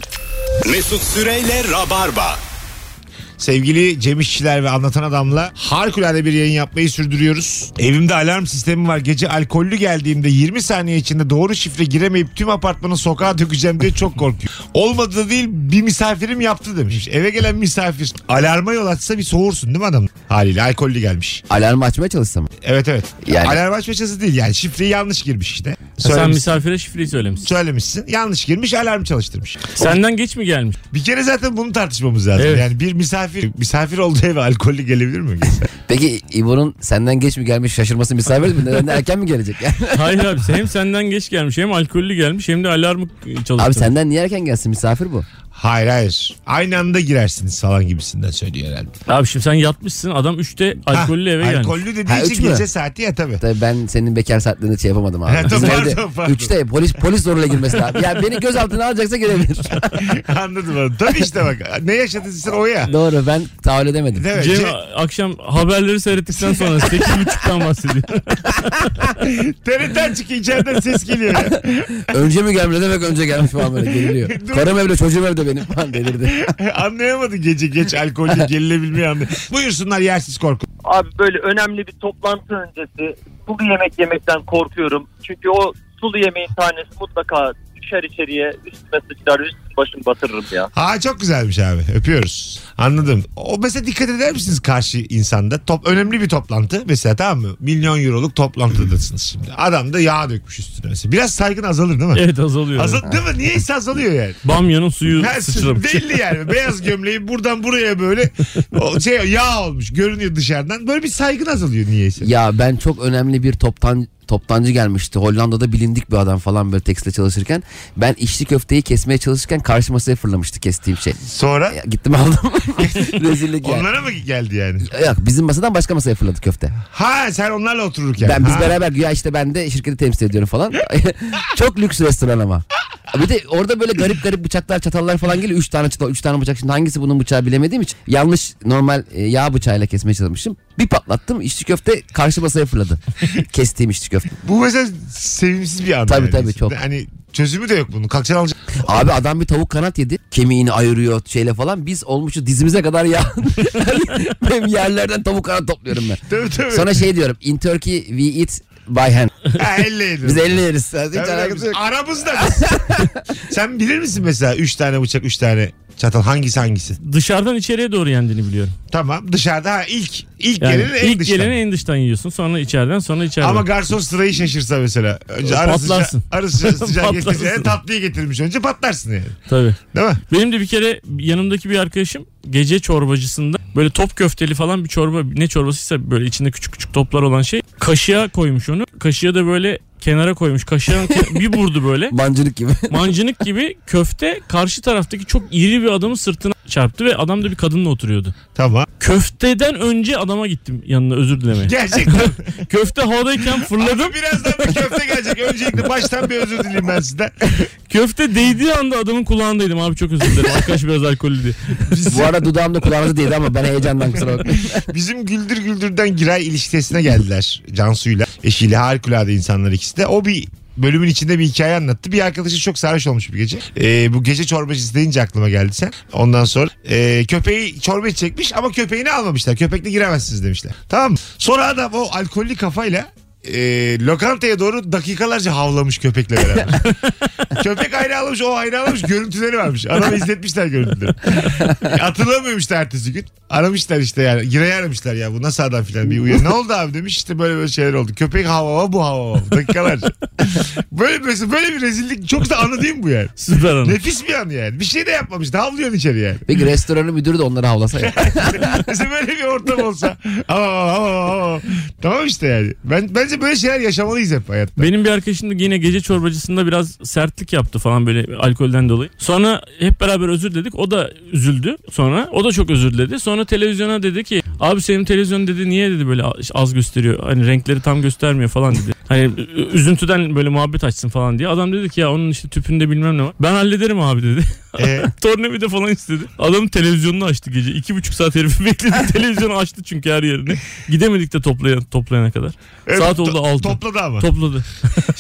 Speaker 1: Mesut Süreyle Rabarba.
Speaker 2: Sevgili Cem İşçiler ve Anlatan Adam'la harikulade bir yayın yapmayı sürdürüyoruz. Evimde alarm sistemi var. Gece alkollü geldiğimde 20 saniye içinde doğru şifre giremeyip tüm apartmanı sokağa dökeceğim diye çok korkuyorum. Olmadı da değil bir misafirim yaptı demiş. Eve gelen misafir alarma yol açsa bir soğursun değil mi adam? Haliyle alkollü gelmiş.
Speaker 4: Alarmı açmaya çalışsam.
Speaker 2: Evet evet.
Speaker 4: Yani-
Speaker 2: Alarm açmaçası değil yani şifreyi yanlış girmiş işte.
Speaker 3: Sen
Speaker 2: Söylemiş-
Speaker 3: misafire şifreyi söylemişsin.
Speaker 2: söylemişsin. Yanlış girmiş alarm çalıştırmış.
Speaker 3: Senden geç mi gelmiş?
Speaker 2: Bir kere zaten bunu tartışmamız lazım.
Speaker 3: Evet.
Speaker 2: Yani bir misafir misafir olduğu eve alkollü gelebilir mi?
Speaker 4: Peki İbo'nun senden geç mi gelmiş şaşırması misafir mi? Neden erken mi gelecek? Yani?
Speaker 3: Hayır abi hem senden geç gelmiş hem alkollü gelmiş hem de alarmı çalıştırmış.
Speaker 4: Abi senden niye erken gelsin misafir bu?
Speaker 2: Hayır hayır. Aynı anda girersiniz falan gibisinden söylüyor herhalde.
Speaker 3: Abi şimdi sen yatmışsın adam 3'te alkollü
Speaker 2: Ha,
Speaker 3: eve gelmiş.
Speaker 2: Alkollü dediği
Speaker 4: Ha,
Speaker 2: için
Speaker 4: üç mü?
Speaker 2: gece saati ya tabii.
Speaker 4: Tabii ben senin bekar saatlerinde şey yapamadım
Speaker 2: Ha,
Speaker 4: abi.
Speaker 2: tamam,
Speaker 4: Bizim
Speaker 2: pardon,
Speaker 4: evde
Speaker 2: pardon.
Speaker 4: Üçte polis polis zoruyla girmesi lazım. Yani beni gözaltına alacaksa girebilir.
Speaker 2: Anladım onu. Tabii işte bak. Ne yaşadın sen o ya.
Speaker 4: Doğru ben tahammül edemedim.
Speaker 2: Değil mi?
Speaker 3: Cem
Speaker 2: Ce-
Speaker 3: akşam haberleri seyrettikten sonra 8.30'dan bahsediyor.
Speaker 2: TRT'den çıkıyor içeriden ses geliyor ya.
Speaker 4: önce mi gelmiş ne demek önce gelmiş falan böyle geriliyor. Karım evde çocuğum evde benim falan delirdi.
Speaker 2: Anlayamadın gece geç alkollü gelinebilmeyi anlayamadın. Buyursunlar yersiz korku.
Speaker 6: Abi böyle önemli bir toplantı öncesi sulu yemek yemekten korkuyorum. Çünkü o sulu yemeğin tanesi mutlaka düşer içeriye üstüme sıçrar üstüm başım batırırım ya.
Speaker 2: Ha çok güzelmiş abi. Öpüyoruz. Anladım. O mesela dikkat eder misiniz karşı insanda? Top, önemli bir toplantı mesela tamam mı? Milyon euroluk toplantıdasınız şimdi. Adam da yağ dökmüş üstüne mesela. Biraz saygın azalır değil mi?
Speaker 3: Evet azalıyor.
Speaker 2: Azal, değil mi? Niyeyse azalıyor yani.
Speaker 3: Bamyanın suyu
Speaker 2: Ha,
Speaker 3: sıçramış.
Speaker 2: Belli yani. Beyaz gömleği buradan buraya böyle o şey yağ olmuş. Görünüyor dışarıdan. Böyle bir saygın azalıyor niyeyse.
Speaker 4: Ya ben çok önemli bir toptan toptancı gelmişti. Hollanda'da bilindik bir adam falan böyle tekstle çalışırken. Ben içli köfteyi kesmeye çalışırken karşı masaya fırlamıştı kestiğim şey.
Speaker 2: Sonra
Speaker 4: Ya gittim aldım. Rezillik ya.
Speaker 2: onlara mı geldi yani?
Speaker 4: Yok bizim masadan başka masaya fırladı köfte.
Speaker 2: Ha sen onlarla otururken.
Speaker 4: Ben biz
Speaker 2: Ha.
Speaker 4: beraber güya işte ben de şirketi temsil ediyorum falan. Çok lüks restoran ama. Bir de orada böyle garip garip bıçaklar çatallar falan geliyor. Üç tane çatal, üç tane bıçak. Şimdi hangisi bunun bıçağı bilemediğim için yanlış normal e, yağ bıçağıyla kesmeye çalışmışım. Bir patlattım içli köfte karşı masaya fırladı. Kestiğim içli köfte.
Speaker 2: Bu mesela sevimsiz bir an.
Speaker 4: Tabii,
Speaker 2: yani.
Speaker 4: tabii, çok.
Speaker 2: Hani çözümü de yok bunun. Kalkacaksın alacaksın.
Speaker 4: Abi adam bir tavuk kanat yedi. Kemiğini ayırıyor şeyle falan. Biz olmuşuz dizimize kadar yağ. Benim yerlerden tavuk kanat topluyorum ben.
Speaker 2: Tabii tabii.
Speaker 4: Sonra şey diyorum. In Turkey we eat by hand.
Speaker 2: Ha, elle yedin.
Speaker 4: Biz elle yeriz. Hiç
Speaker 2: Tabii, tabii,
Speaker 4: alakası
Speaker 2: biz
Speaker 4: yok.
Speaker 2: Aramızda biz. sen bilir misin mesela 3 tane bıçak 3 tane çatal hangisi hangisi?
Speaker 3: Dışarıdan içeriye doğru yendiğini biliyorum.
Speaker 2: Tamam dışarıda ha, ilk ilk
Speaker 3: Yani
Speaker 2: geleni en
Speaker 3: ilk
Speaker 2: dıştan.
Speaker 3: geleni en dıştan yiyorsun sonra içeriden sonra içeriden.
Speaker 2: Ama garson sırayı şaşırsa mesela. Önce arı
Speaker 3: Patlarsın.
Speaker 2: sıcağı, arı sıcağı- sıcağı
Speaker 3: Patlarsın.
Speaker 2: getireceğine tatlıyı getirmiş önce patlarsın yani.
Speaker 3: Tabii.
Speaker 2: Değil mi?
Speaker 3: Benim de bir kere yanımdaki bir arkadaşım gece çorbacısında böyle top köfteli falan bir çorba ne çorbasıysa böyle içinde küçük küçük toplar olan şey kaşığa koymuş onu. Kaşığa da böyle kenara koymuş. Kaşığın ke- bir vurdu böyle.
Speaker 4: Mancınık gibi.
Speaker 3: Mancınık gibi köfte karşı taraftaki çok iri bir adamın sırtına çarptı ve adam da bir kadınla oturuyordu.
Speaker 2: Tamam.
Speaker 3: Köfteden önce adama gittim yanına özür dilemeye.
Speaker 2: Gerçekten.
Speaker 3: Köfte havadayken fırladım.
Speaker 2: Anladım. Birazdan bir köfte gelecek. Öncelikle baştan bir özür dileyim ben sizden.
Speaker 3: Köfte değdiği anda adamın kulağındaydım abi çok özür dilerim. Arkadaş biraz alkollü diye.
Speaker 4: Bu arada dudağımda kulağınızı değdi ama ben heyecandan kusura bakmayın.
Speaker 2: Bizim Güldür Güldür'den Giray ilişkisine geldiler. Cansu'yla eşiyle harikulade insanlar ikisi de. O bir bölümün içinde bir hikaye anlattı. Bir arkadaşı çok sarhoş olmuş bir gece. Ee, bu gece çorbacısı deyince aklıma geldi sen. Ondan sonra e, köpeği çorba içecekmiş ama köpeğini almamışlar. Köpekle giremezsiniz demişler. Tamam mı? Sonra adam o alkollü kafayla e, lokantaya doğru dakikalarca havlamış köpekle beraber. Köpek ayrı almış o ayrı almış görüntüleri varmış. Adamı izletmişler görüntüleri. Hatırlamıyormuş da ertesi gün. Aramışlar işte yani. Gireyi aramışlar ya bu nasıl adam filan bir uyan. Ne oldu abi demiş işte böyle böyle şeyler oldu. Köpek hava hava bu hava hava. Dakikalarca. böyle, mesela böyle bir rezillik çok da anı değil mi bu yani?
Speaker 3: Süper hanım.
Speaker 2: Nefis bir an yani. Bir şey de yapmamış. da Havlıyorsun içeri yani.
Speaker 4: Peki restoranın müdürü de onları havlasa ya.
Speaker 2: Mesela böyle bir ortam olsa. Hava hava hava. Tamam işte yani. Ben, bence böyle şeyler yaşamalıyız hep hayatta.
Speaker 3: Benim bir arkadaşım da yine gece çorbacısında biraz sertlik yaptı falan böyle alkolden dolayı. Sonra hep beraber özür dedik. O da üzüldü sonra. O da çok özür diledi. Sonra televizyona dedi ki Abi senin televizyon dedi niye dedi böyle az gösteriyor. Hani renkleri tam göstermiyor falan dedi. Hani ü- üzüntüden böyle muhabbet açsın falan diye. Adam dedi ki ya onun işte tüpünde bilmem ne var. Ben hallederim abi dedi.
Speaker 2: Ee,
Speaker 3: Tornavida falan istedi. Adam televizyonunu açtı gece. iki buçuk saat herifi bekledi. Televizyonu açtı çünkü her yerini. Gidemedik de toplayan, toplayana kadar. Saat
Speaker 2: to-
Speaker 3: oldu altı.
Speaker 2: Topladı ama.
Speaker 3: Topladı.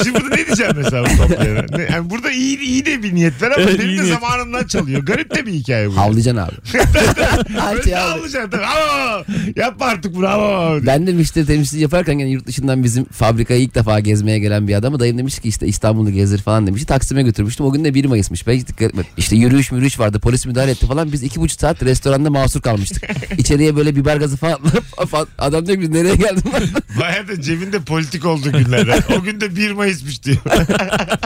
Speaker 2: Şimdi burada ne diyeceğim mesela bu toplayana? Ne- yani burada iyi, iyi de bir niyet var ama
Speaker 3: Evet,
Speaker 2: benim
Speaker 3: iyi
Speaker 2: de
Speaker 3: niyet.
Speaker 2: zamanımdan çalıyor. Garip de bir hikaye bu.
Speaker 4: Havlayacaksın abi. Her
Speaker 2: Böyle
Speaker 4: şey
Speaker 2: de
Speaker 4: havlı.
Speaker 2: ağlayacaksın tabii. Aa, yapma artık bunu. Aa.
Speaker 4: Ben de müşteri temsilcisi yaparken yani yurt dışından bizim fabrikayı ilk defa gezmeye gelen bir adamı dayım demiş ki işte İstanbul'u gezdir falan demişti. Taksim'e götürmüştüm. O gün de 1 Mayıs'mış. Ben hiç dikkat etmedim. İşte yürüyüş mürüyüş vardı. Polis müdahale etti falan. Biz 2,5 saat restoranda mahsur kalmıştık. İçeriye böyle biber gazı falan atılıp adam diyor ki "Biz nereye geldim
Speaker 2: Bayağı da cebinde politik olduğu günlerden. O gün de 1 Mayıs'mış diyor.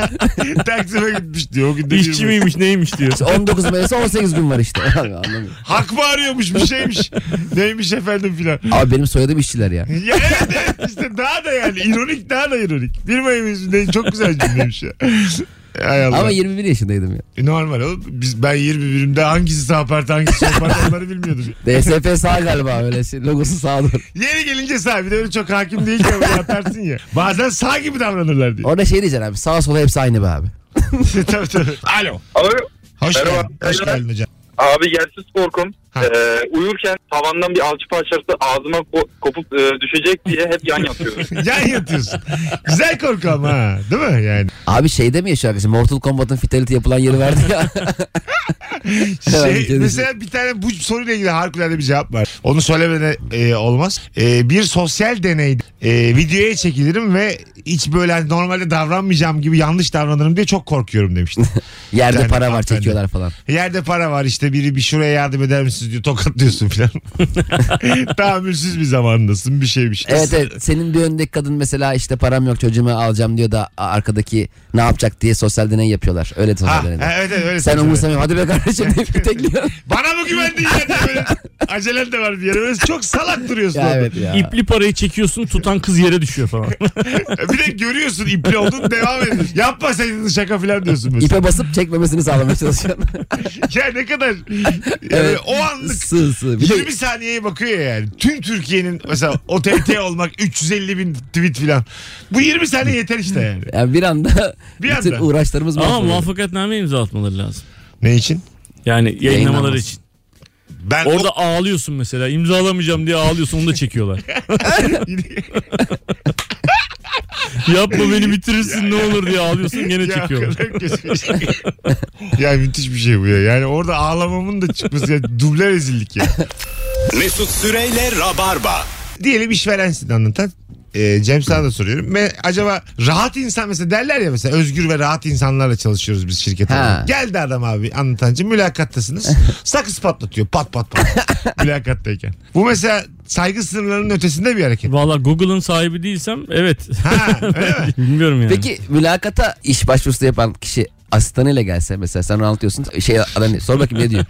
Speaker 2: Taksim'e gitmiş diyor. O gün de 1 Mayıs.
Speaker 3: İşçi miymiş neymiş diyor.
Speaker 4: 19 Mayıs'a 18 gün var işte. Abi, anlamıyorum.
Speaker 2: Hak mı arıyormuş bir şeymiş. Neymiş efendim filan.
Speaker 4: Abi benim soyadım işçiler ya.
Speaker 2: Ya evet, evet, işte daha da yani ironik daha da ironik. 1 Mayıs ne- çok güzel cümleymiş ya. Hay Allah.
Speaker 4: Ama 21 yaşındaydım ya.
Speaker 2: E, Normal oğlum. Biz, ben 21'imde hangisi sağ parti hangisi sol parti onları bilmiyordum.
Speaker 4: DSP sağ galiba öyle şey. Logosu sağa doğru.
Speaker 2: Yeri gelince sağ bir de öyle çok hakim değil ki öyle atarsın ya. Bazen sağ gibi davranırlar diye.
Speaker 4: Orada şey diyeceksin abi. Sağa sola hepsi aynı be abi.
Speaker 2: tabii tabii. Alo.
Speaker 7: Alo.
Speaker 2: Hoş
Speaker 7: Merhaba.
Speaker 2: geldin. Hoş geldin hocam.
Speaker 7: Abi yersiz korkum.
Speaker 2: Ha.
Speaker 7: Ee, uyurken tavandan bir alçı parçası ağzıma ko- kopup e, düşecek diye hep yan yatıyorum.
Speaker 2: Yan yatıyorsun. Güzel korku ama ha. Değil mi yani?
Speaker 4: Abi şeyde mi yaşıyor arkadaşım? Mortal Kombat'ın fidelity yapılan yeri vardı ya. Herhalde
Speaker 2: Şey,
Speaker 4: kendisi.
Speaker 2: mesela bir tane bu soruyla ilgili harikulade bir cevap var. Onu söylemeden e, olmaz. E, bir sosyal deneyde e, videoya çekilirim ve hiç böyle hani normalde davranmayacağım gibi yanlış davranırım diye çok korkuyorum demişti.
Speaker 4: Yerde
Speaker 2: Yani
Speaker 4: para var
Speaker 2: hanımefendi.
Speaker 4: çekiyorlar falan.
Speaker 2: Yerde para var işte biri bir şuraya yardım eder misiniz diyor tokatlıyorsun filan. Tahammülsüz bir zamandasın bir şey bir şey.
Speaker 4: Evet evet senin bir öndeki kadın mesela işte param yok çocuğumu alacağım diyor da a- arkadaki ne yapacak diye sosyal deney yapıyorlar. Öyle de sosyal
Speaker 2: Ha,
Speaker 4: deney.
Speaker 2: evet, evet, öyle
Speaker 4: Sen
Speaker 2: sosyal
Speaker 4: umursamıyor hadi be kardeşim deyip bir tekliyor.
Speaker 2: Bana mı güvendin ya diye böyle acelen de var bir yere. Böyle çok salak duruyorsun
Speaker 4: ya
Speaker 2: orada.
Speaker 4: evet ya.
Speaker 3: İpli parayı çekiyorsun tutan kız yere düşüyor falan.
Speaker 2: Bir de görüyorsun ipli oldun devam ediyorsun. Yapmasaydın şaka filan diyorsun mesela.
Speaker 4: İpe basıp çekmemesini sağlamaya çalışıyorsun.
Speaker 2: ya ne kadar yani
Speaker 4: Evet.
Speaker 2: o anlık
Speaker 4: sığ sığ. Bir de
Speaker 2: 20 saniyeye bakıyor ya yani. Tüm Türkiye'nin mesela OTT olmak 350 bin tweet filan. Bu 20 saniye yeter işte yani.
Speaker 4: yani bir anda
Speaker 2: Bir
Speaker 4: bütün
Speaker 2: anda.
Speaker 4: uğraşlarımız
Speaker 3: Ama
Speaker 4: mahvoluyor.
Speaker 3: muvaffakatname imza atmaları lazım.
Speaker 2: Ne için?
Speaker 3: Yani yayınlamaları
Speaker 4: Yayınlanmaz.
Speaker 3: için.
Speaker 2: Ben
Speaker 3: Orada ağlıyorsun mesela. İmzalamayacağım diye ağlıyorsun. Onu da çekiyorlar. Yapma beni bitirirsin ne olur diye ağlıyorsun. Gene
Speaker 2: Ya,
Speaker 3: çekiyorlar.
Speaker 2: kadar kesin. ya müthiş bir şey bu ya. Yani orada ağlamamın da çıkması ya duble rezillik ya.
Speaker 1: Mesut Süreyle Rabarba.
Speaker 2: Diyelim işverensin anlatan. Ee, Cem sana da soruyorum. Ve acaba rahat insan mesela derler ya mesela özgür ve rahat insanlarla çalışıyoruz biz şirkete.
Speaker 4: Ha.
Speaker 2: Geldi adam abi anlatancı mülakattasınız. Sakız patlatıyor pat pat pat mülakattayken. Bu mesela saygı sınırlarının ötesinde bir hareket.
Speaker 3: Valla Google'ın sahibi değilsem evet.
Speaker 2: Ha, öyle mi?
Speaker 3: Bilmiyorum yani.
Speaker 4: Peki mülakata iş başvurusu yapan kişi asistanıyla gelse mesela sen onu anlatıyorsun şey adam ne- sor bakayım ne diyor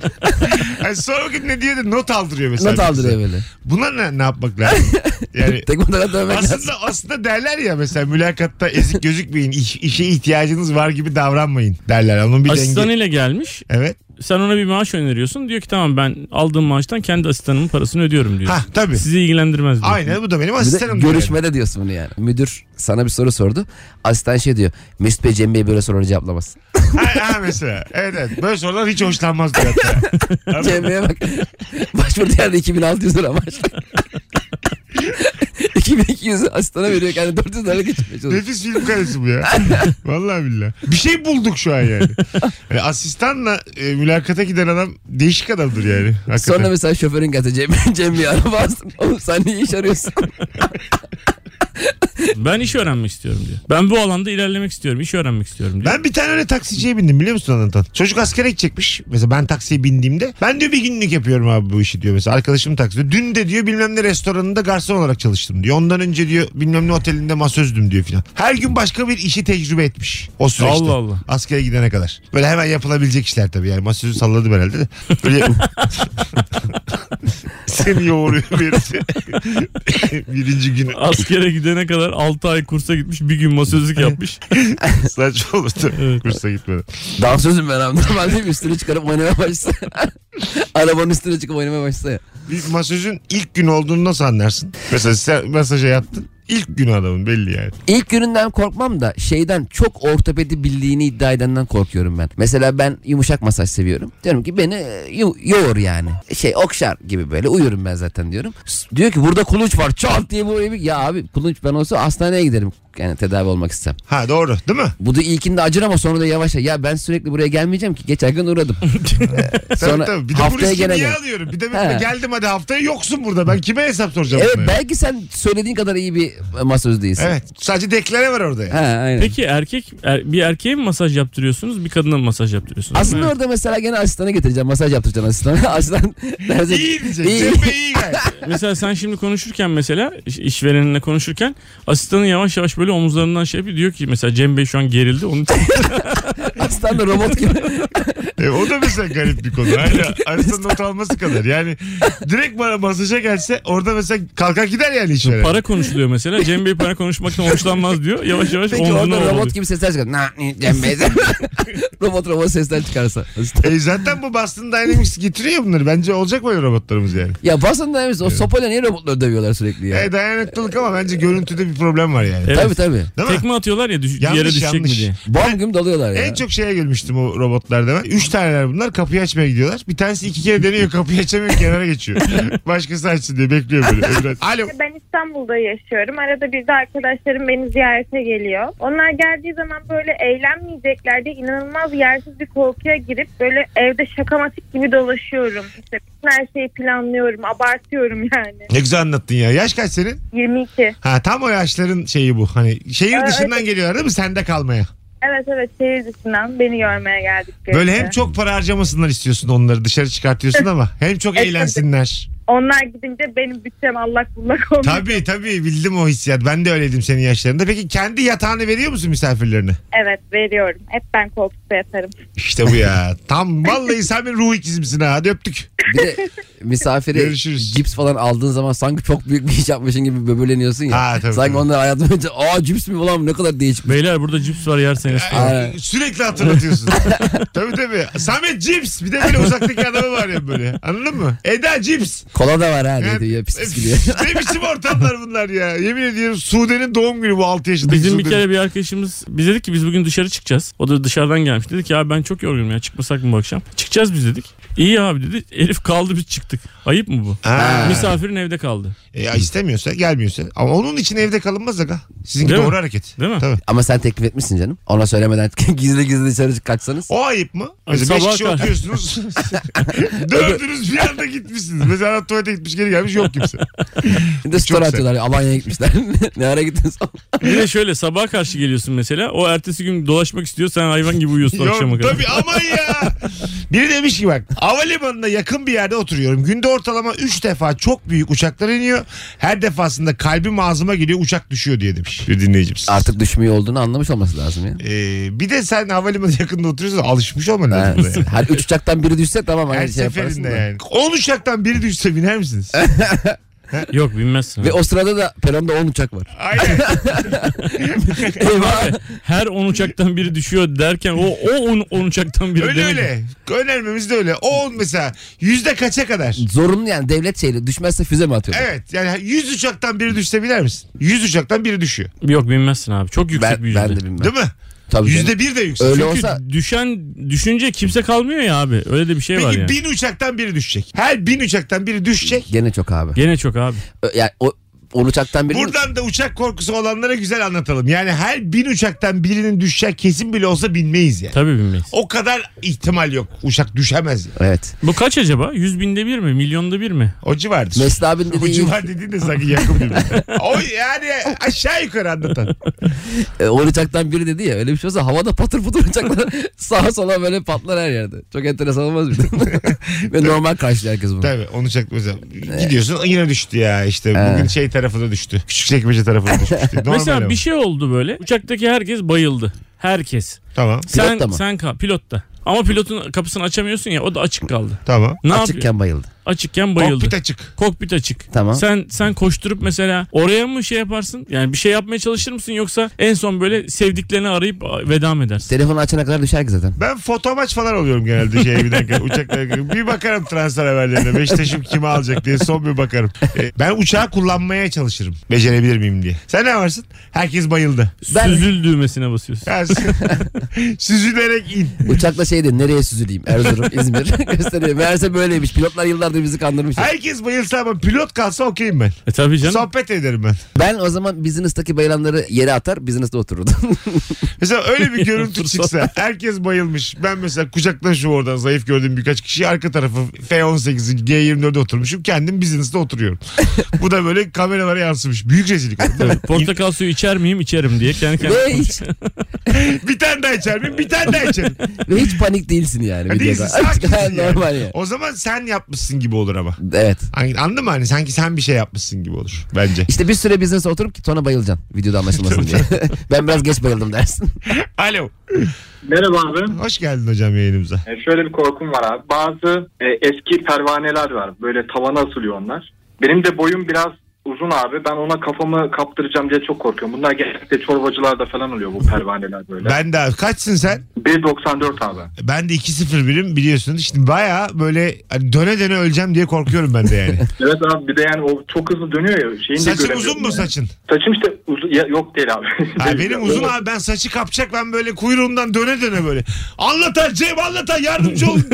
Speaker 2: Yani sonra bakayım ne diye de not aldırıyor mesela.
Speaker 4: not aldırıyor böyle
Speaker 2: Buna ne, ne yapmak lazım? Yani
Speaker 4: tek motora dövmek lazım
Speaker 2: aslında aslında derler ya mesela mülakatta ezik gözükmeyin iş- işe ihtiyacınız var gibi davranmayın derler. Onun bir denge.
Speaker 3: Asistanıyla gelmiş.
Speaker 2: Evet.
Speaker 3: Sen ona bir maaş öneriyorsun. Diyor ki tamam ben aldığım maaştan kendi asistanımın parasını ödüyorum diyor.
Speaker 2: Ha tabii.
Speaker 3: Sizi ilgilendirmez diyor.
Speaker 2: Aynen bu da benim
Speaker 4: Bir de
Speaker 2: asistanım. diyor yani.
Speaker 4: görüşmede diyorsun bunu yani. Müdür sana bir soru sordu. Asistan şey diyor. Mesut Bey Cem Bey böyle soruları cevaplamaz.
Speaker 2: Ha, ha mesela. Evet evet. Böyle sorular hiç hoşlanmaz diyor hatta.
Speaker 4: Cem Bey'e bak. Başvurdu yerde 2600 lira maaş. 2200 asistana veriyor. Yani 400 lira geçmeye çalışıyor.
Speaker 2: Nefis film karesi bu ya. Vallahi billahi. Bir şey bulduk şu an yani. Yani asistanla e, mülakata giden adam değişik adamdır yani. Hakikaten.
Speaker 4: Sonra mesela şoförün gelse Cem, Cem Bey araba alsın. Oğlum sen niye iş arıyorsun?
Speaker 3: Ben iş öğrenmek istiyorum diyor. Ben bu alanda ilerlemek istiyorum. iş öğrenmek istiyorum diyor.
Speaker 2: Ben bir tane öyle taksiciye bindim biliyor musun anlatan? Çocuk askere gidecekmiş. Mesela ben taksiye bindiğimde ben diyor bir günlük yapıyorum abi bu işi diyor. Mesela arkadaşım taksi. Dün de diyor bilmem ne restoranında garson olarak çalıştım diyor. Ondan önce diyor bilmem ne otelinde masözdüm diyor filan. Her gün başka bir işi tecrübe etmiş o süreçte.
Speaker 3: Allah Allah.
Speaker 2: Askere gidene kadar. Böyle hemen yapılabilecek işler tabii yani. Masözü salladım herhalde de. Böyle... Seni yoğuruyor bir Birinci günü.
Speaker 3: Askere gidene kadar 6 ay kursa gitmiş. Bir gün masözlük yapmış.
Speaker 2: Saçma olurdu.
Speaker 3: Evet.
Speaker 2: Kursa gitmeden.
Speaker 4: Dansözüm ben abi. Normalde üstünü çıkarıp oynamaya başlasın. Arabanın üstüne çıkıp oynamaya başlasa ya.
Speaker 2: Bir masajın ilk gün olduğunu nasıl anlarsın? Mesela sen masaja yattın. İlk günü adamın belli yani.
Speaker 4: İlk gününden korkmam da şeyden çok ortopedi bildiğini iddia edenden korkuyorum ben. Mesela ben yumuşak masaj seviyorum. Diyorum ki beni e, yo- yoğur yani. Şey okşar gibi böyle uyurum ben zaten diyorum. S- Diyor ki burada kulunç var çat diye buraya bir... Ya abi kulunç ben olsa hastaneye giderim yani tedavi olmak istem.
Speaker 2: Ha doğru değil mi?
Speaker 4: Bu da ilkinde acır ama sonra da yavaş ya ben sürekli buraya gelmeyeceğim ki geçen gün uğradım. Ee,
Speaker 2: Tabii,
Speaker 4: sonra
Speaker 2: tabii. Bir de bu
Speaker 4: haftaya
Speaker 2: riski
Speaker 4: gene
Speaker 2: niye
Speaker 4: gel.
Speaker 2: alıyorum? Bir de
Speaker 4: He. E,
Speaker 2: mesela geldim hadi haftaya yoksun burada. Ben kime hesap soracağım?
Speaker 4: Evet
Speaker 2: buna ya?
Speaker 4: belki sen söylediğin kadar iyi bir masöz değilsin.
Speaker 2: Evet. Sadece deklare var orada
Speaker 4: Ha,
Speaker 2: yani.
Speaker 4: aynen.
Speaker 3: Peki erkek er- bir erkeğe mi masaj yaptırıyorsunuz bir kadına mı masaj yaptırıyorsunuz?
Speaker 4: Aslında
Speaker 3: Evet.
Speaker 4: orada mesela gene asistana getireceğim. Masaj yaptıracaksın asistana. Asistan derse
Speaker 2: İyi diyecek.
Speaker 4: İyi.
Speaker 2: Cemre iyi gayet.
Speaker 3: mesela sen şimdi konuşurken mesela iş- işvereninle konuşurken asistanın yavaş yavaş böyle omuzlarından şey yapıyor diyor ki mesela Cem Bey şu an gerildi onun için
Speaker 4: asistan da robot gibi.
Speaker 2: E, o da mesela garip bir konu. Hala arasında not alması kadar. Yani direkt bana masaja gelse orada mesela kalkar gider yani işe.
Speaker 3: para konuşuluyor mesela Cem Bey para konuşmaktan hoşlanmaz diyor yavaş yavaş
Speaker 4: Peki
Speaker 3: omzuna
Speaker 4: orada
Speaker 3: oluyor.
Speaker 4: robot gibi sesler çıkar. Na, ni, Cem Bey. robot robot sesler çıkarsa. asistan.
Speaker 2: E zaten bu Boston Dynamics getiriyor bunları. Bence olacak böyle robotlarımız yani.
Speaker 4: Ya basın da o sopayla niye robotları dövüyorlar sürekli ya? E,
Speaker 2: E, dayanıklılık ama bence görüntüde bir problem var yani.
Speaker 3: Evet.
Speaker 4: Tabii tabii.
Speaker 2: Değil mi?
Speaker 3: Tekme atıyorlar ya düş-
Speaker 2: Yanlış,
Speaker 3: yere düşecek
Speaker 2: yanlış.
Speaker 3: mi diye.
Speaker 4: Bom güm dalıyorlar ya.
Speaker 2: En çok şeye gülmüştüm o robotlarda ben. Üç taneler bunlar kapıyı açmaya gidiyorlar. Bir tanesi iki kere deniyor kapıyı açamıyor kenara geçiyor. Başkası açsın diye bekliyor böyle. Öbürü- Alo.
Speaker 5: Ben İstanbul'da yaşıyorum. Arada bir de arkadaşlarım beni ziyarete geliyor. Onlar geldiği zaman böyle eğlenmeyecekler diye inanılmaz yersiz bir korkuya girip böyle evde şakamatik gibi dolaşıyorum. İşte bütün her şeyi planlıyorum, abartıyorum yani.
Speaker 2: Ne güzel anlattın ya. Yaş kaç senin?
Speaker 5: 22.
Speaker 2: Ha tam o yaşların şeyi bu. Hani şehir
Speaker 5: Evet.
Speaker 2: dışından geliyorlar değil mi? Sende kalmaya.
Speaker 5: Evet evet şehir dışından beni görmeye geldik.
Speaker 2: Böyle
Speaker 5: birlikte.
Speaker 2: hem çok para harcamasınlar istiyorsun onları dışarı çıkartıyorsun ama hem çok
Speaker 5: Evet,
Speaker 2: eğlensinler.
Speaker 5: Onlar gidince benim bütçem allak bullak olmuş.
Speaker 2: Tabii tabii bildim o hissiyat. Ben de öyleydim senin yaşlarında. Peki kendi yatağını veriyor musun misafirlerine?
Speaker 5: Evet veriyorum. Hep ben koltukta yatarım.
Speaker 2: İşte bu ya. Tam vallahi sen bir ruh ikizimsin ha. Hadi öptük.
Speaker 4: Bir de misafiri
Speaker 2: Görüşürüz.
Speaker 4: cips falan aldığın zaman sanki çok büyük bir iş yapmışın gibi böbürleniyorsun ya.
Speaker 2: Ha, tabii,
Speaker 4: sanki
Speaker 2: tabii.
Speaker 4: onlar hayatım boyunca aa cips mi ulan bu ne kadar değişik.
Speaker 3: Beyler burada cips var yerseniz.
Speaker 4: Aynen.
Speaker 2: Sürekli hatırlatıyorsun. tabii tabii. Samet cips. Bir de böyle uzaktaki adamı var ya böyle. Anladın mı? Eda cips.
Speaker 4: Kola da var ha
Speaker 2: Ya,
Speaker 4: diye diyor pis pis
Speaker 2: öf,
Speaker 4: gidiyor.
Speaker 2: ne biçim ortamlar bunlar ya. Yemin ediyorum Sude'nin doğum günü bu 6 yaşındaki
Speaker 3: Bizim bir
Speaker 2: Sude'nin.
Speaker 3: kere bir arkadaşımız biz dedik ki biz bugün dışarı çıkacağız. O da dışarıdan gelmiş. Dedi ki abi ben çok yorgunum ya çıkmasak mı bu akşam? Çıkacağız biz dedik. İyi abi dedi. Elif kaldı biz çıktık. Ayıp mı bu?
Speaker 2: Ha.
Speaker 3: Misafirin evde kaldı.
Speaker 2: E, ya istemiyorsa gelmiyorsa. Ama onun için evde kalınmaz aga. Sizinki
Speaker 3: Değil mi?
Speaker 2: doğru hareket.
Speaker 3: Değil mi?
Speaker 2: Tabii.
Speaker 4: Ama sen teklif etmişsin canım. Ona söylemeden gizli gizli dışarı kaçsanız.
Speaker 2: O ayıp mı?
Speaker 3: Hani
Speaker 2: Mesela 5
Speaker 3: sabaha
Speaker 2: kişi
Speaker 3: kadar.
Speaker 2: oturuyorsunuz. Dövdünüz bir anda gitmişsiniz. Mesela adam tuvalete gitmiş geri gelmiş yok kimse.
Speaker 4: Bir de
Speaker 2: çok
Speaker 4: story
Speaker 2: sen.
Speaker 4: atıyorlar. ya, Alanya'ya gitmişler. ne ara gittiniz?
Speaker 3: Bir de şöyle sabaha karşı geliyorsun mesela. O ertesi gün dolaşmak istiyor. Sen hayvan gibi uyuyorsun akşama
Speaker 2: Yok,
Speaker 3: kadar.
Speaker 2: tabii aman ya. Biri demiş ki bak havalimanına yakın bir yerde oturuyorum. Günde ortalama 3 defa çok büyük uçaklar iniyor. Her defasında kalbim ağzıma geliyor uçak düşüyor diye demiş bir dinleyicimiz.
Speaker 4: Artık düşmüyor olduğunu anlamış olması lazım ya.
Speaker 2: Ee, bir de sen havalimanı yakında oturuyorsan alışmış olman lazım. buna
Speaker 4: Yani,
Speaker 2: yani.
Speaker 4: her üç uçaktan biri düşse tamam.
Speaker 2: Her
Speaker 4: hani şey yaparsın
Speaker 2: seferinde
Speaker 4: da.
Speaker 2: yani. 10 uçaktan biri düşse biner misiniz?
Speaker 3: Yok binmezsin.
Speaker 4: Ve o sırada da peronda 10 uçak var.
Speaker 2: Aynen.
Speaker 4: Eyvah.
Speaker 3: Her 10 uçaktan biri düşüyor derken o o 10 uçaktan biri
Speaker 2: Öyle
Speaker 3: demek.
Speaker 2: öyle. Önermemiz de öyle. O on mesela yüzde kaça kadar?
Speaker 4: Zorunlu yani devlet şeyle düşmezse füze mi atıyor?
Speaker 2: Evet yani 100 uçaktan biri düşse biner misin? 100 uçaktan biri düşüyor.
Speaker 3: Yok binmezsin abi. Çok yüksek
Speaker 4: Ben,
Speaker 3: bir yüzde.
Speaker 4: ben de bilmem.
Speaker 2: Değil mi?
Speaker 4: Tabii canım.
Speaker 2: Yüzde bir de yüksek.
Speaker 4: Öyle
Speaker 3: Çünkü
Speaker 4: olsa
Speaker 3: düşen düşünce kimse kalmıyor ya abi. Öyle de bir şey var
Speaker 2: Peki
Speaker 3: yani.
Speaker 2: bin uçaktan biri düşecek. Her bin uçaktan biri düşecek.
Speaker 4: gene çok abi.
Speaker 3: Gene çok abi.
Speaker 4: Ö- Yani o 10 uçaktan biri
Speaker 2: Buradan da uçak korkusu olanlara güzel anlatalım. Yani her bin uçaktan birinin düşeceği kesin bile olsa binmeyiz yani.
Speaker 3: Tabii binmeyiz.
Speaker 2: O kadar ihtimal yok. Uçak düşemez. Yani.
Speaker 4: Evet.
Speaker 3: Bu kaç acaba? Yüz binde bir mi? Milyonda bir mi?
Speaker 2: O civardır.
Speaker 4: Mesut abin
Speaker 2: o
Speaker 4: dediği
Speaker 2: civar dediğin de sanki yakın birbirine. o yani aşağı yukarı anlatan.
Speaker 4: e, 10 uçaktan biri dedi ya öyle bir şey olsa havada patır patır uçaklar sağa sola böyle patlar her yerde. Çok enteresan olmaz mı? Ve normal karşılıyor herkes bunu.
Speaker 2: Tabii onu çak mesela gidiyorsun yine düştü ya işte bugün şey tarafına düştü. Küçük çekmece tarafına düşmüştü. Normal
Speaker 3: Mesela
Speaker 2: ama.
Speaker 3: bir şey oldu böyle. Uçaktaki herkes bayıldı. Herkes.
Speaker 2: Tamam
Speaker 3: Sen
Speaker 4: da mı?
Speaker 3: sen kal pilotta. Ama pilotun kapısını açamıyorsun ya o da açık kaldı.
Speaker 2: tamam.
Speaker 3: Ne yapıyor?
Speaker 4: Açıkken bayıldı.
Speaker 3: açıkken bayıldı.
Speaker 2: Kokpit açık.
Speaker 3: Kokpit açık.
Speaker 4: Tamam.
Speaker 3: Sen sen koşturup mesela oraya mı şey yaparsın? Yani bir şey yapmaya çalışır mısın yoksa en son böyle sevdiklerini arayıp a, veda mı edersin?
Speaker 4: Telefonu açana kadar düşer ki zaten.
Speaker 2: Ben fotomaç falan oluyorum genelde şeye giderken uçaklara giderken. Bir bakarım transfer haberlerine. Beşiktaş'ım kimi alacak diye son bir bakarım. E, Ben uçağı kullanmaya çalışırım. Becerebilir miyim diye. Sen ne varsın? Herkes bayıldı.
Speaker 4: Ben-
Speaker 3: Süzül düğmesine basıyorsun.
Speaker 2: Ya, Süzülerek in.
Speaker 4: Uçakla şey diyor nereye süzüleyim Erzurum İzmir gösteriyor. Meğerse böyleymiş pilotlar yıllardır bizi kandırmış.
Speaker 2: Herkes bayılsa ama pilot kalsa okeyim ben.
Speaker 3: E tabii canım.
Speaker 2: Sohbet ederim ben.
Speaker 4: Ben o zaman business'taki bayılanları yere atar business'ta otururdum.
Speaker 2: Mesela öyle bir görüntü çıksa herkes bayılmış. Ben mesela kucaklaşıp oradan zayıf gördüğüm birkaç kişi arka tarafı F18'in G24'de oturmuşum. Kendim business'ta oturuyorum. Bu da böyle kameralara yansımış. Büyük rezillik. oldu.
Speaker 3: Tabii, Portakal suyu içer miyim? İçerim diye kendi kendine.
Speaker 4: ve, hiç,
Speaker 2: bir tane daha içer miyim? Bir tane daha içerim.
Speaker 4: ve hiç panik değilsin yani. videoda.
Speaker 2: Değilsin, sakinsin
Speaker 4: Gayet
Speaker 2: yani.
Speaker 4: Normal yani.
Speaker 2: O zaman sen yapmışsın gibi olur ama.
Speaker 4: Evet.
Speaker 2: Hani Anladın mı? Hani sanki sen bir şey yapmışsın gibi olur bence.
Speaker 4: İşte bir süre business'a oturup ki sonra bayılacaksın videoda anlaşılmasın diye. ben biraz geç bayıldım dersin.
Speaker 2: Alo.
Speaker 8: Merhaba abi.
Speaker 2: Hoş geldin hocam yayınımıza.
Speaker 8: E, şöyle bir korkum var abi. Bazı e, eski pervaneler var. Böyle tavana asılıyor onlar. Benim de boyum biraz uzun abi. Ben ona kafamı kaptıracağım diye çok korkuyorum. Bunlar genellikle çorbacılarda falan oluyor bu pervaneler böyle.
Speaker 2: Ben de kaçsın sen?
Speaker 8: 1.94 abi.
Speaker 2: Ben de 2-0 birim biliyorsunuz. Şimdi baya böyle hani döne döne öleceğim diye korkuyorum ben de yani.
Speaker 8: Evet abi bir de yani o çok hızlı dönüyor ya. Şeyini de
Speaker 2: Saçın
Speaker 8: göremiyorum
Speaker 2: uzun mu
Speaker 8: yani.
Speaker 2: saçın?
Speaker 8: Saçım işte uzun. ya- yok değil abi.
Speaker 2: Ha,
Speaker 8: Değil.
Speaker 2: benim uzun
Speaker 8: Evet.
Speaker 2: abi ben saçı kapacak ben böyle kuyruğumdan döne döne böyle. Anlatan Cem anlatan yardımcı olun.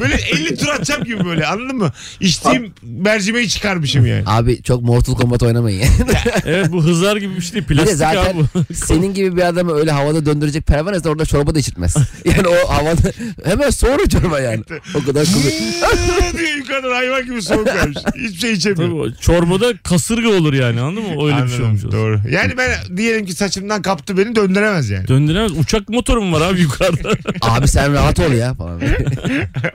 Speaker 2: böyle 50 tur atacağım gibi böyle anladın mı? İçtiğim mercimeği çıkarmışım yani.
Speaker 4: Abi çok Mortal Kombat oynamayın.
Speaker 3: Evet bu hızar gibi bir şey değil.
Speaker 4: bir
Speaker 3: Plastik
Speaker 4: de
Speaker 3: abi
Speaker 4: zaten
Speaker 3: bu.
Speaker 4: senin gibi bir adamı öyle havada döndürecek pervanesi orada çorba da içirtmez. Yani o havada hemen soğur çorba yani. O kadar kuvvet.
Speaker 2: Iıı diye yukarıdan hayvan gibi soğuk vermiş. Hiçbir şey içemiyor.
Speaker 3: Tabii, o çorbada kasırga olur yani anladın mı? Öyle bir şey
Speaker 2: Anladım,
Speaker 3: olmuş. olsun.
Speaker 2: Doğru. Yani ben diyelim ki saçımdan kaptı beni döndüremez yani.
Speaker 3: Döndüremez. Uçak motoru mu var abi yukarıda?
Speaker 4: Abi sen rahat ol ya falan.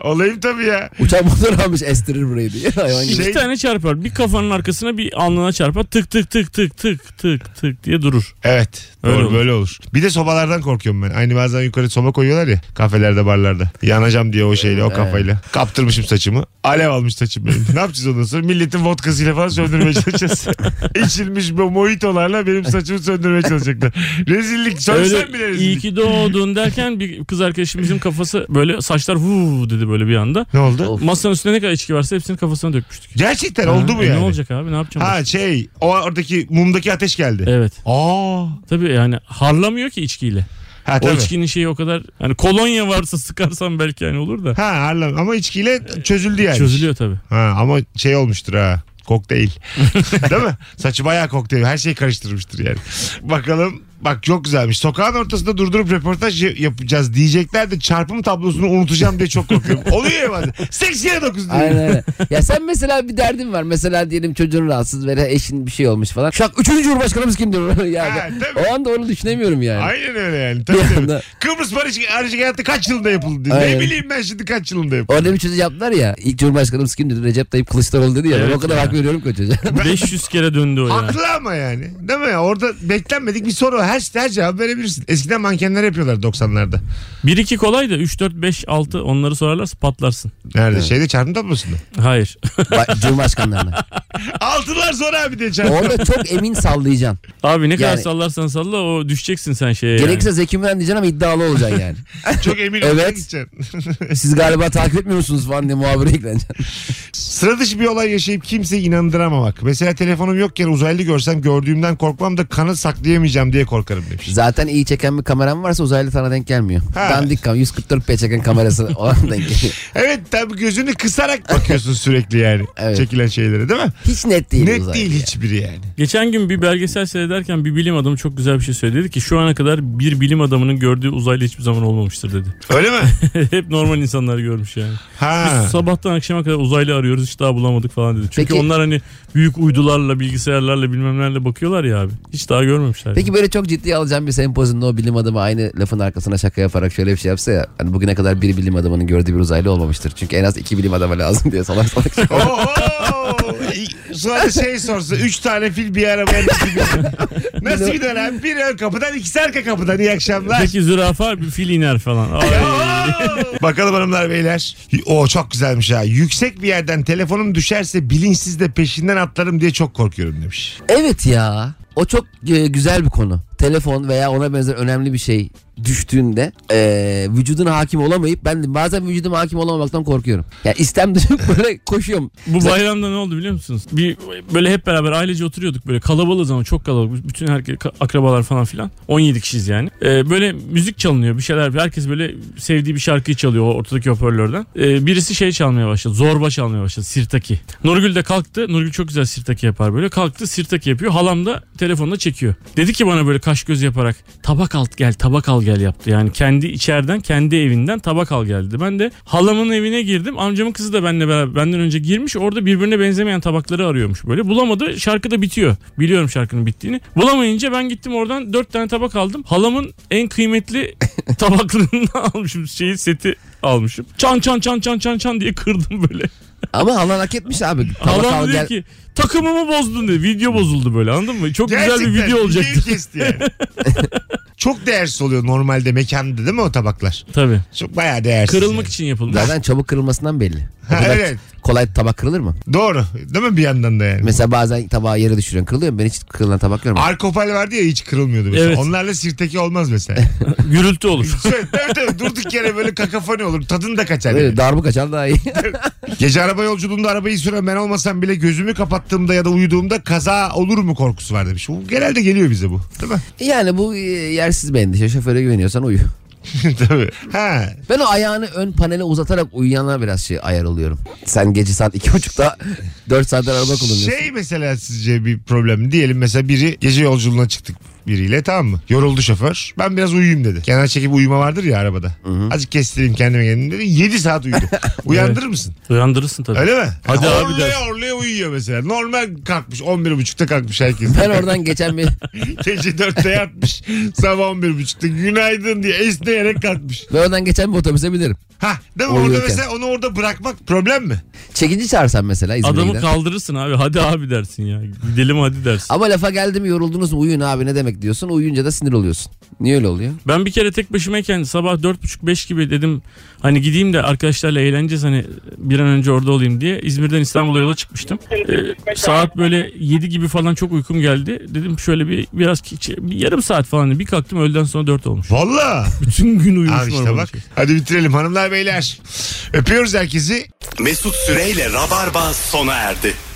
Speaker 2: Olayım tabii ya.
Speaker 4: Uçak motor almış estirir burayı diye. Hayvan gibi.
Speaker 2: Şey-
Speaker 3: İki tane çarpar. Bir kafanın arkasına bir alnına çarpar. Tık tık tık tık tık tık tık diye durur.
Speaker 2: Evet.
Speaker 3: Öyle
Speaker 2: doğru
Speaker 3: olur.
Speaker 2: böyle olur. Bir de sobalardan korkuyorum ben. Aynı bazen yukarı soba koyuyorlar ya kafelerde barlarda. Yanacağım diye o şeyle o kafayla. Kaptırmışım saçımı. Alev almış saçım benim. ne yapacağız ondan sonra? Milletin vodkasıyla falan söndürmeye çalışacağız. İçilmiş bu mojitolarla benim saçımı söndürmeye çalışacaklar. Rezillik. Sönsen bile
Speaker 3: Öyle
Speaker 2: rezillik.
Speaker 3: iyi ki doğdun derken bir kız arkadaşımızın kafası böyle saçlar huu dedi böyle bir anda.
Speaker 2: Ne oldu?
Speaker 3: Masanın üstüne ne kadar içki varsa hepsini kafasına dökmüştük.
Speaker 2: Gerçekten
Speaker 3: Ha,
Speaker 2: oldu mu
Speaker 3: e
Speaker 2: yani?
Speaker 3: Ne olacak abi ne yapacağım?
Speaker 2: Ha şey o oradaki mumdaki ateş geldi.
Speaker 3: Evet.
Speaker 2: Aa.
Speaker 3: Tabii yani harlamıyor ki içkiyle.
Speaker 2: Ha,
Speaker 3: O
Speaker 2: tabii.
Speaker 3: içkinin şeyi o kadar hani kolonya varsa sıkarsan belki yani olur da.
Speaker 2: Ha harlan ama içkiyle çözüldü yani.
Speaker 3: Çözülüyor tabii.
Speaker 2: Ha, ama şey olmuştur ha. Kokteyl. Değil mi? Saçı bayağı kokteyl. Her şeyi karıştırmıştır yani. Bakalım. Bak çok güzelmiş. Sokağın ortasında durdurup reportaj ya- yapacağız diyecekler de çarpım tablosunu unutacağım diye çok korkuyorum. Oluyor ya bazen. 89 diyor.
Speaker 4: Aynen öyle. Ya sen mesela bir derdin var. Mesela diyelim çocuğun rahatsız veya eşin bir şey olmuş falan. Şu an üçüncü cumhurbaşkanımız kim diyor. ya,
Speaker 2: Ha, tabii.
Speaker 4: o anda onu düşünemiyorum yani.
Speaker 2: Aynen öyle yani. Tabii
Speaker 4: Bir
Speaker 2: tabii.
Speaker 4: anda-
Speaker 2: Kıbrıs Barış Harcı Hayatı kaç yılında yapıldı? diyor. Ne
Speaker 4: Aynen.
Speaker 2: bileyim ben şimdi kaç yılında yapıldı?
Speaker 4: Orada bir çözüm yaptılar ya. İlk cumhurbaşkanımız kim dedi? Recep Tayyip Kılıçdaroğlu dedi ya. ben
Speaker 3: Evet
Speaker 4: o kadar
Speaker 3: ya.
Speaker 4: hak veriyorum ki o çocuğa.
Speaker 3: 500 kere döndü o ya.
Speaker 2: Haklı ama yani. Değil mi? Orada beklenmedik bir soru. Her, her cevap verebilirsin. Eskiden mankenler yapıyorlar 90'larda.
Speaker 3: 1 2 kolay da 3 4 5 6 onları sorarlarsa patlarsın.
Speaker 2: Nerede? Şeyde çarpım tablosunda.
Speaker 3: Hayır.
Speaker 4: Bak, Cumhurbaşkanlarına.
Speaker 2: Altılar zor abi diye çarpım.
Speaker 4: Orada çok emin sallayacaksın.
Speaker 3: Abi ne kadar
Speaker 4: Yani-
Speaker 3: sallarsan salla o düşeceksin sen şeye. yani.
Speaker 4: Gerekirse Zeki Müren diyeceksin ama iddialı olacaksın yani.
Speaker 2: Çok emin
Speaker 4: Evet.
Speaker 2: olarak gideceksin.
Speaker 4: Siz galiba takip etmiyorsunuz falan diye muhabire ekleneceksin.
Speaker 2: Sıra dışı bir olay yaşayıp kimseyi inandıramamak. Mesela telefonum yokken uzaylı görsem gördüğümden korkmam da kanı saklayamayacağım diye korkarım demiş.
Speaker 4: Zaten iyi çeken bir kameram varsa uzaylı sana denk gelmiyor.
Speaker 2: Ha.
Speaker 4: Dandik kam 144p çeken kamerası olan denk geliyor.
Speaker 2: Evet tabii gözünü kısarak bakıyorsun sürekli yani
Speaker 4: Evet.
Speaker 2: çekilen şeylere değil mi?
Speaker 4: Hiç net değil
Speaker 2: Net
Speaker 4: uzaylı.
Speaker 2: değil
Speaker 4: ya.
Speaker 2: hiçbiri yani.
Speaker 3: Geçen gün bir belgesel seyrederken bir bilim adamı çok güzel bir şey söyledi Dedi ki şu ana kadar bir bilim adamının gördüğü uzaylı hiçbir zaman olmamıştır dedi.
Speaker 2: Öyle mi?
Speaker 3: Hep normal insanlar görmüş yani.
Speaker 2: Ha.
Speaker 3: Biz sabahtan akşama kadar uzaylı arıyoruz hiç daha bulamadık falan dedi. Çünkü
Speaker 4: Peki-
Speaker 3: onlar hani büyük uydularla bilgisayarlarla bilmemlerle bakıyorlar ya abi. Hiç daha görmemişler.
Speaker 4: Peki böyle çok ciddi alacağım bir sempozyumda o bilim adamı aynı lafın arkasına şaka yaparak şöyle bir şey yapsa ya. Hani bugüne kadar bir bilim adamının gördüğı bir uzaylı olmamıştır. Çünkü en az iki bilim adama lazım diye salak salak. şey.
Speaker 2: Oho! Sonra şey sorsa üç tane fil bir arabaya nasıl gidiyor? nasıl gidiyor abi? Biri ön kapıdan ikisi arka kapıdan. İyi akşamlar.
Speaker 3: Peki zürafa bir fil iner falan. Ay.
Speaker 2: Bakalım hanımlar beyler. O çok güzelmiş ha. Yüksek bir yerden telefonum düşerse bilinçsiz de peşinden atlarım diye çok korkuyorum demiş.
Speaker 4: Evet ya. O çok e, güzel bir konu. Telefon veya ona benzer önemli bir şey düştüğünde e, vücuduna hakim olamayıp ben de bazen vücuduma hakim olamamaktan korkuyorum. Ya istem dışı böyle koşuyorum.
Speaker 3: Bu bayramda ne oldu biliyor musunuz? Bir böyle hep beraber ailece oturuyorduk böyle kalabalığız ama çok kalabalık. Bütün herkes akrabalar falan filan. 17 kişiyiz yani. Ee, böyle müzik çalınıyor bir şeyler. Herkes böyle sevdiği bir şarkıyı çalıyor o ortadaki hoparlörden. Ee, birisi şey çalmaya başladı. Zorba çalmaya başladı. Sirtaki. Nurgül de kalktı. Nurgül çok güzel sirtaki yapar böyle. Kalktı sirtaki yapıyor. Halam da telefonla çekiyor. Dedi ki bana böyle kaş göz yaparak tabak alt gel tabak al gel yaptı. Yani kendi içeriden kendi evinden tabak al geldi. Ben de halamın evine girdim. Amcamın kızı da benimle beraber benden önce girmiş. Orada birbirine benzemeyen tabakları arıyormuş böyle. Bulamadı. Şarkı da bitiyor. Biliyorum şarkının bittiğini. Bulamayınca ben gittim oradan dört tane tabak aldım. Halamın en kıymetli tabaklarını almışım. Şeyi seti almışım. Çan çan çan çan çan çan diye kırdım böyle.
Speaker 4: Ama halan hak etmiş abi. Tabak
Speaker 3: Halam
Speaker 4: al
Speaker 3: diyor
Speaker 4: gel.
Speaker 3: ki takımımı bozdun dedi. Video bozuldu böyle anladın mı? Çok güzel bir
Speaker 2: Gerçekten
Speaker 3: video olacaktı.
Speaker 2: videoyu kesti yani. çok değersiz oluyor normalde mekanda değil mi o tabaklar?
Speaker 3: Tabii.
Speaker 2: Çok bayağı değersiz.
Speaker 3: Kırılmak
Speaker 2: yani.
Speaker 3: için yapılmış.
Speaker 4: Zaten çabuk kırılmasından belli. O
Speaker 2: Ha,
Speaker 4: kadar
Speaker 2: evet.
Speaker 4: Kolay tabak kırılır mı?
Speaker 2: Doğru değil mi bir yandan da yani?
Speaker 4: Mesela bazen tabağı yere düşürüyorsun kırılıyor mu? Ben hiç kırılan tabak görmedim.
Speaker 2: Arkopal vardı ya hiç kırılmıyordu mesela.
Speaker 3: Evet.
Speaker 2: Onlarla sirteki olmaz mesela.
Speaker 3: Gürültü olur.
Speaker 2: Şöyle, tabii tabii durduk yere böyle kakafoni olur. Tadın da kaçar. yani.
Speaker 4: Evet, darbuka kaçan daha iyi.
Speaker 2: Gece araba yolculuğunda arabayı süren ben olmasam bile gözümü kapattığımda ya da uyuduğumda kaza olur mu korkusu var demiş. Bu genelde geliyor bize bu. Değil mi?
Speaker 4: yani bu e, yersiz bir endişe. Şoföre güveniyorsan uyu.
Speaker 2: Tabii. Ha.
Speaker 4: Ben o ayağını ön panele uzatarak uyuyana biraz şey ayar oluyorum. Sen gece saat iki buçukta dört saatler araba kullanıyorsun.
Speaker 2: Şey mesela sizce bir problem. Diyelim mesela biri gece yolculuğuna çıktık biriyle tamam mı? Yoruldu şoför. Ben biraz uyuyayım dedi. Kenar çekip uyuma vardır ya arabada. Azıcık kestireyim kendime kendimi dedi. 7 saat uyudu. Uyandırır mısın?
Speaker 3: Uyandırırsın tabii.
Speaker 2: Öyle mi?
Speaker 3: Hadi
Speaker 2: orlaya
Speaker 3: abi der.
Speaker 2: orlaya uyuyor mesela. Normal kalkmış 11.30'da kalkmış herkes.
Speaker 4: Ben oradan geçen bir
Speaker 2: Gece 4'te yatmış. Sabah 11.30'da günaydın diye esneyerek kalkmış.
Speaker 4: ben oradan geçen bir otobüse binerim.
Speaker 2: Ha, değil mi?
Speaker 4: Uyuyorken.
Speaker 2: Orada mesela onu orada bırakmak problem mi?
Speaker 4: Çekici çağırsan mesela İzmir'e
Speaker 3: Adamı
Speaker 4: giden.
Speaker 3: kaldırırsın abi. Hadi abi dersin ya. Gidelim hadi dersin.
Speaker 4: Ama lafa geldi mi yoruldunuz mu uyuyun abi ne demek diyorsun. Uyuyunca da sinir oluyorsun. Niye öyle oluyor?
Speaker 3: Ben bir kere tek başımayken sabah 4.30-5 gibi dedim hani gideyim de arkadaşlarla eğleneceğiz hani bir an önce orada olayım diye. İzmir'den İstanbul'a yola çıkmıştım. Ee, saat böyle 7 gibi falan çok uykum geldi. Dedim şöyle bir biraz ki- şey, bir yarım saat falan bir kalktım öğleden sonra 4 olmuş.
Speaker 2: Valla.
Speaker 3: Bütün gün uyumuşum.
Speaker 2: Abi işte
Speaker 3: arabada.
Speaker 2: bak. Hadi bitirelim hanımlar beyler. Öpüyoruz herkesi.
Speaker 1: Mesut Süreyle Rabarba sona erdi.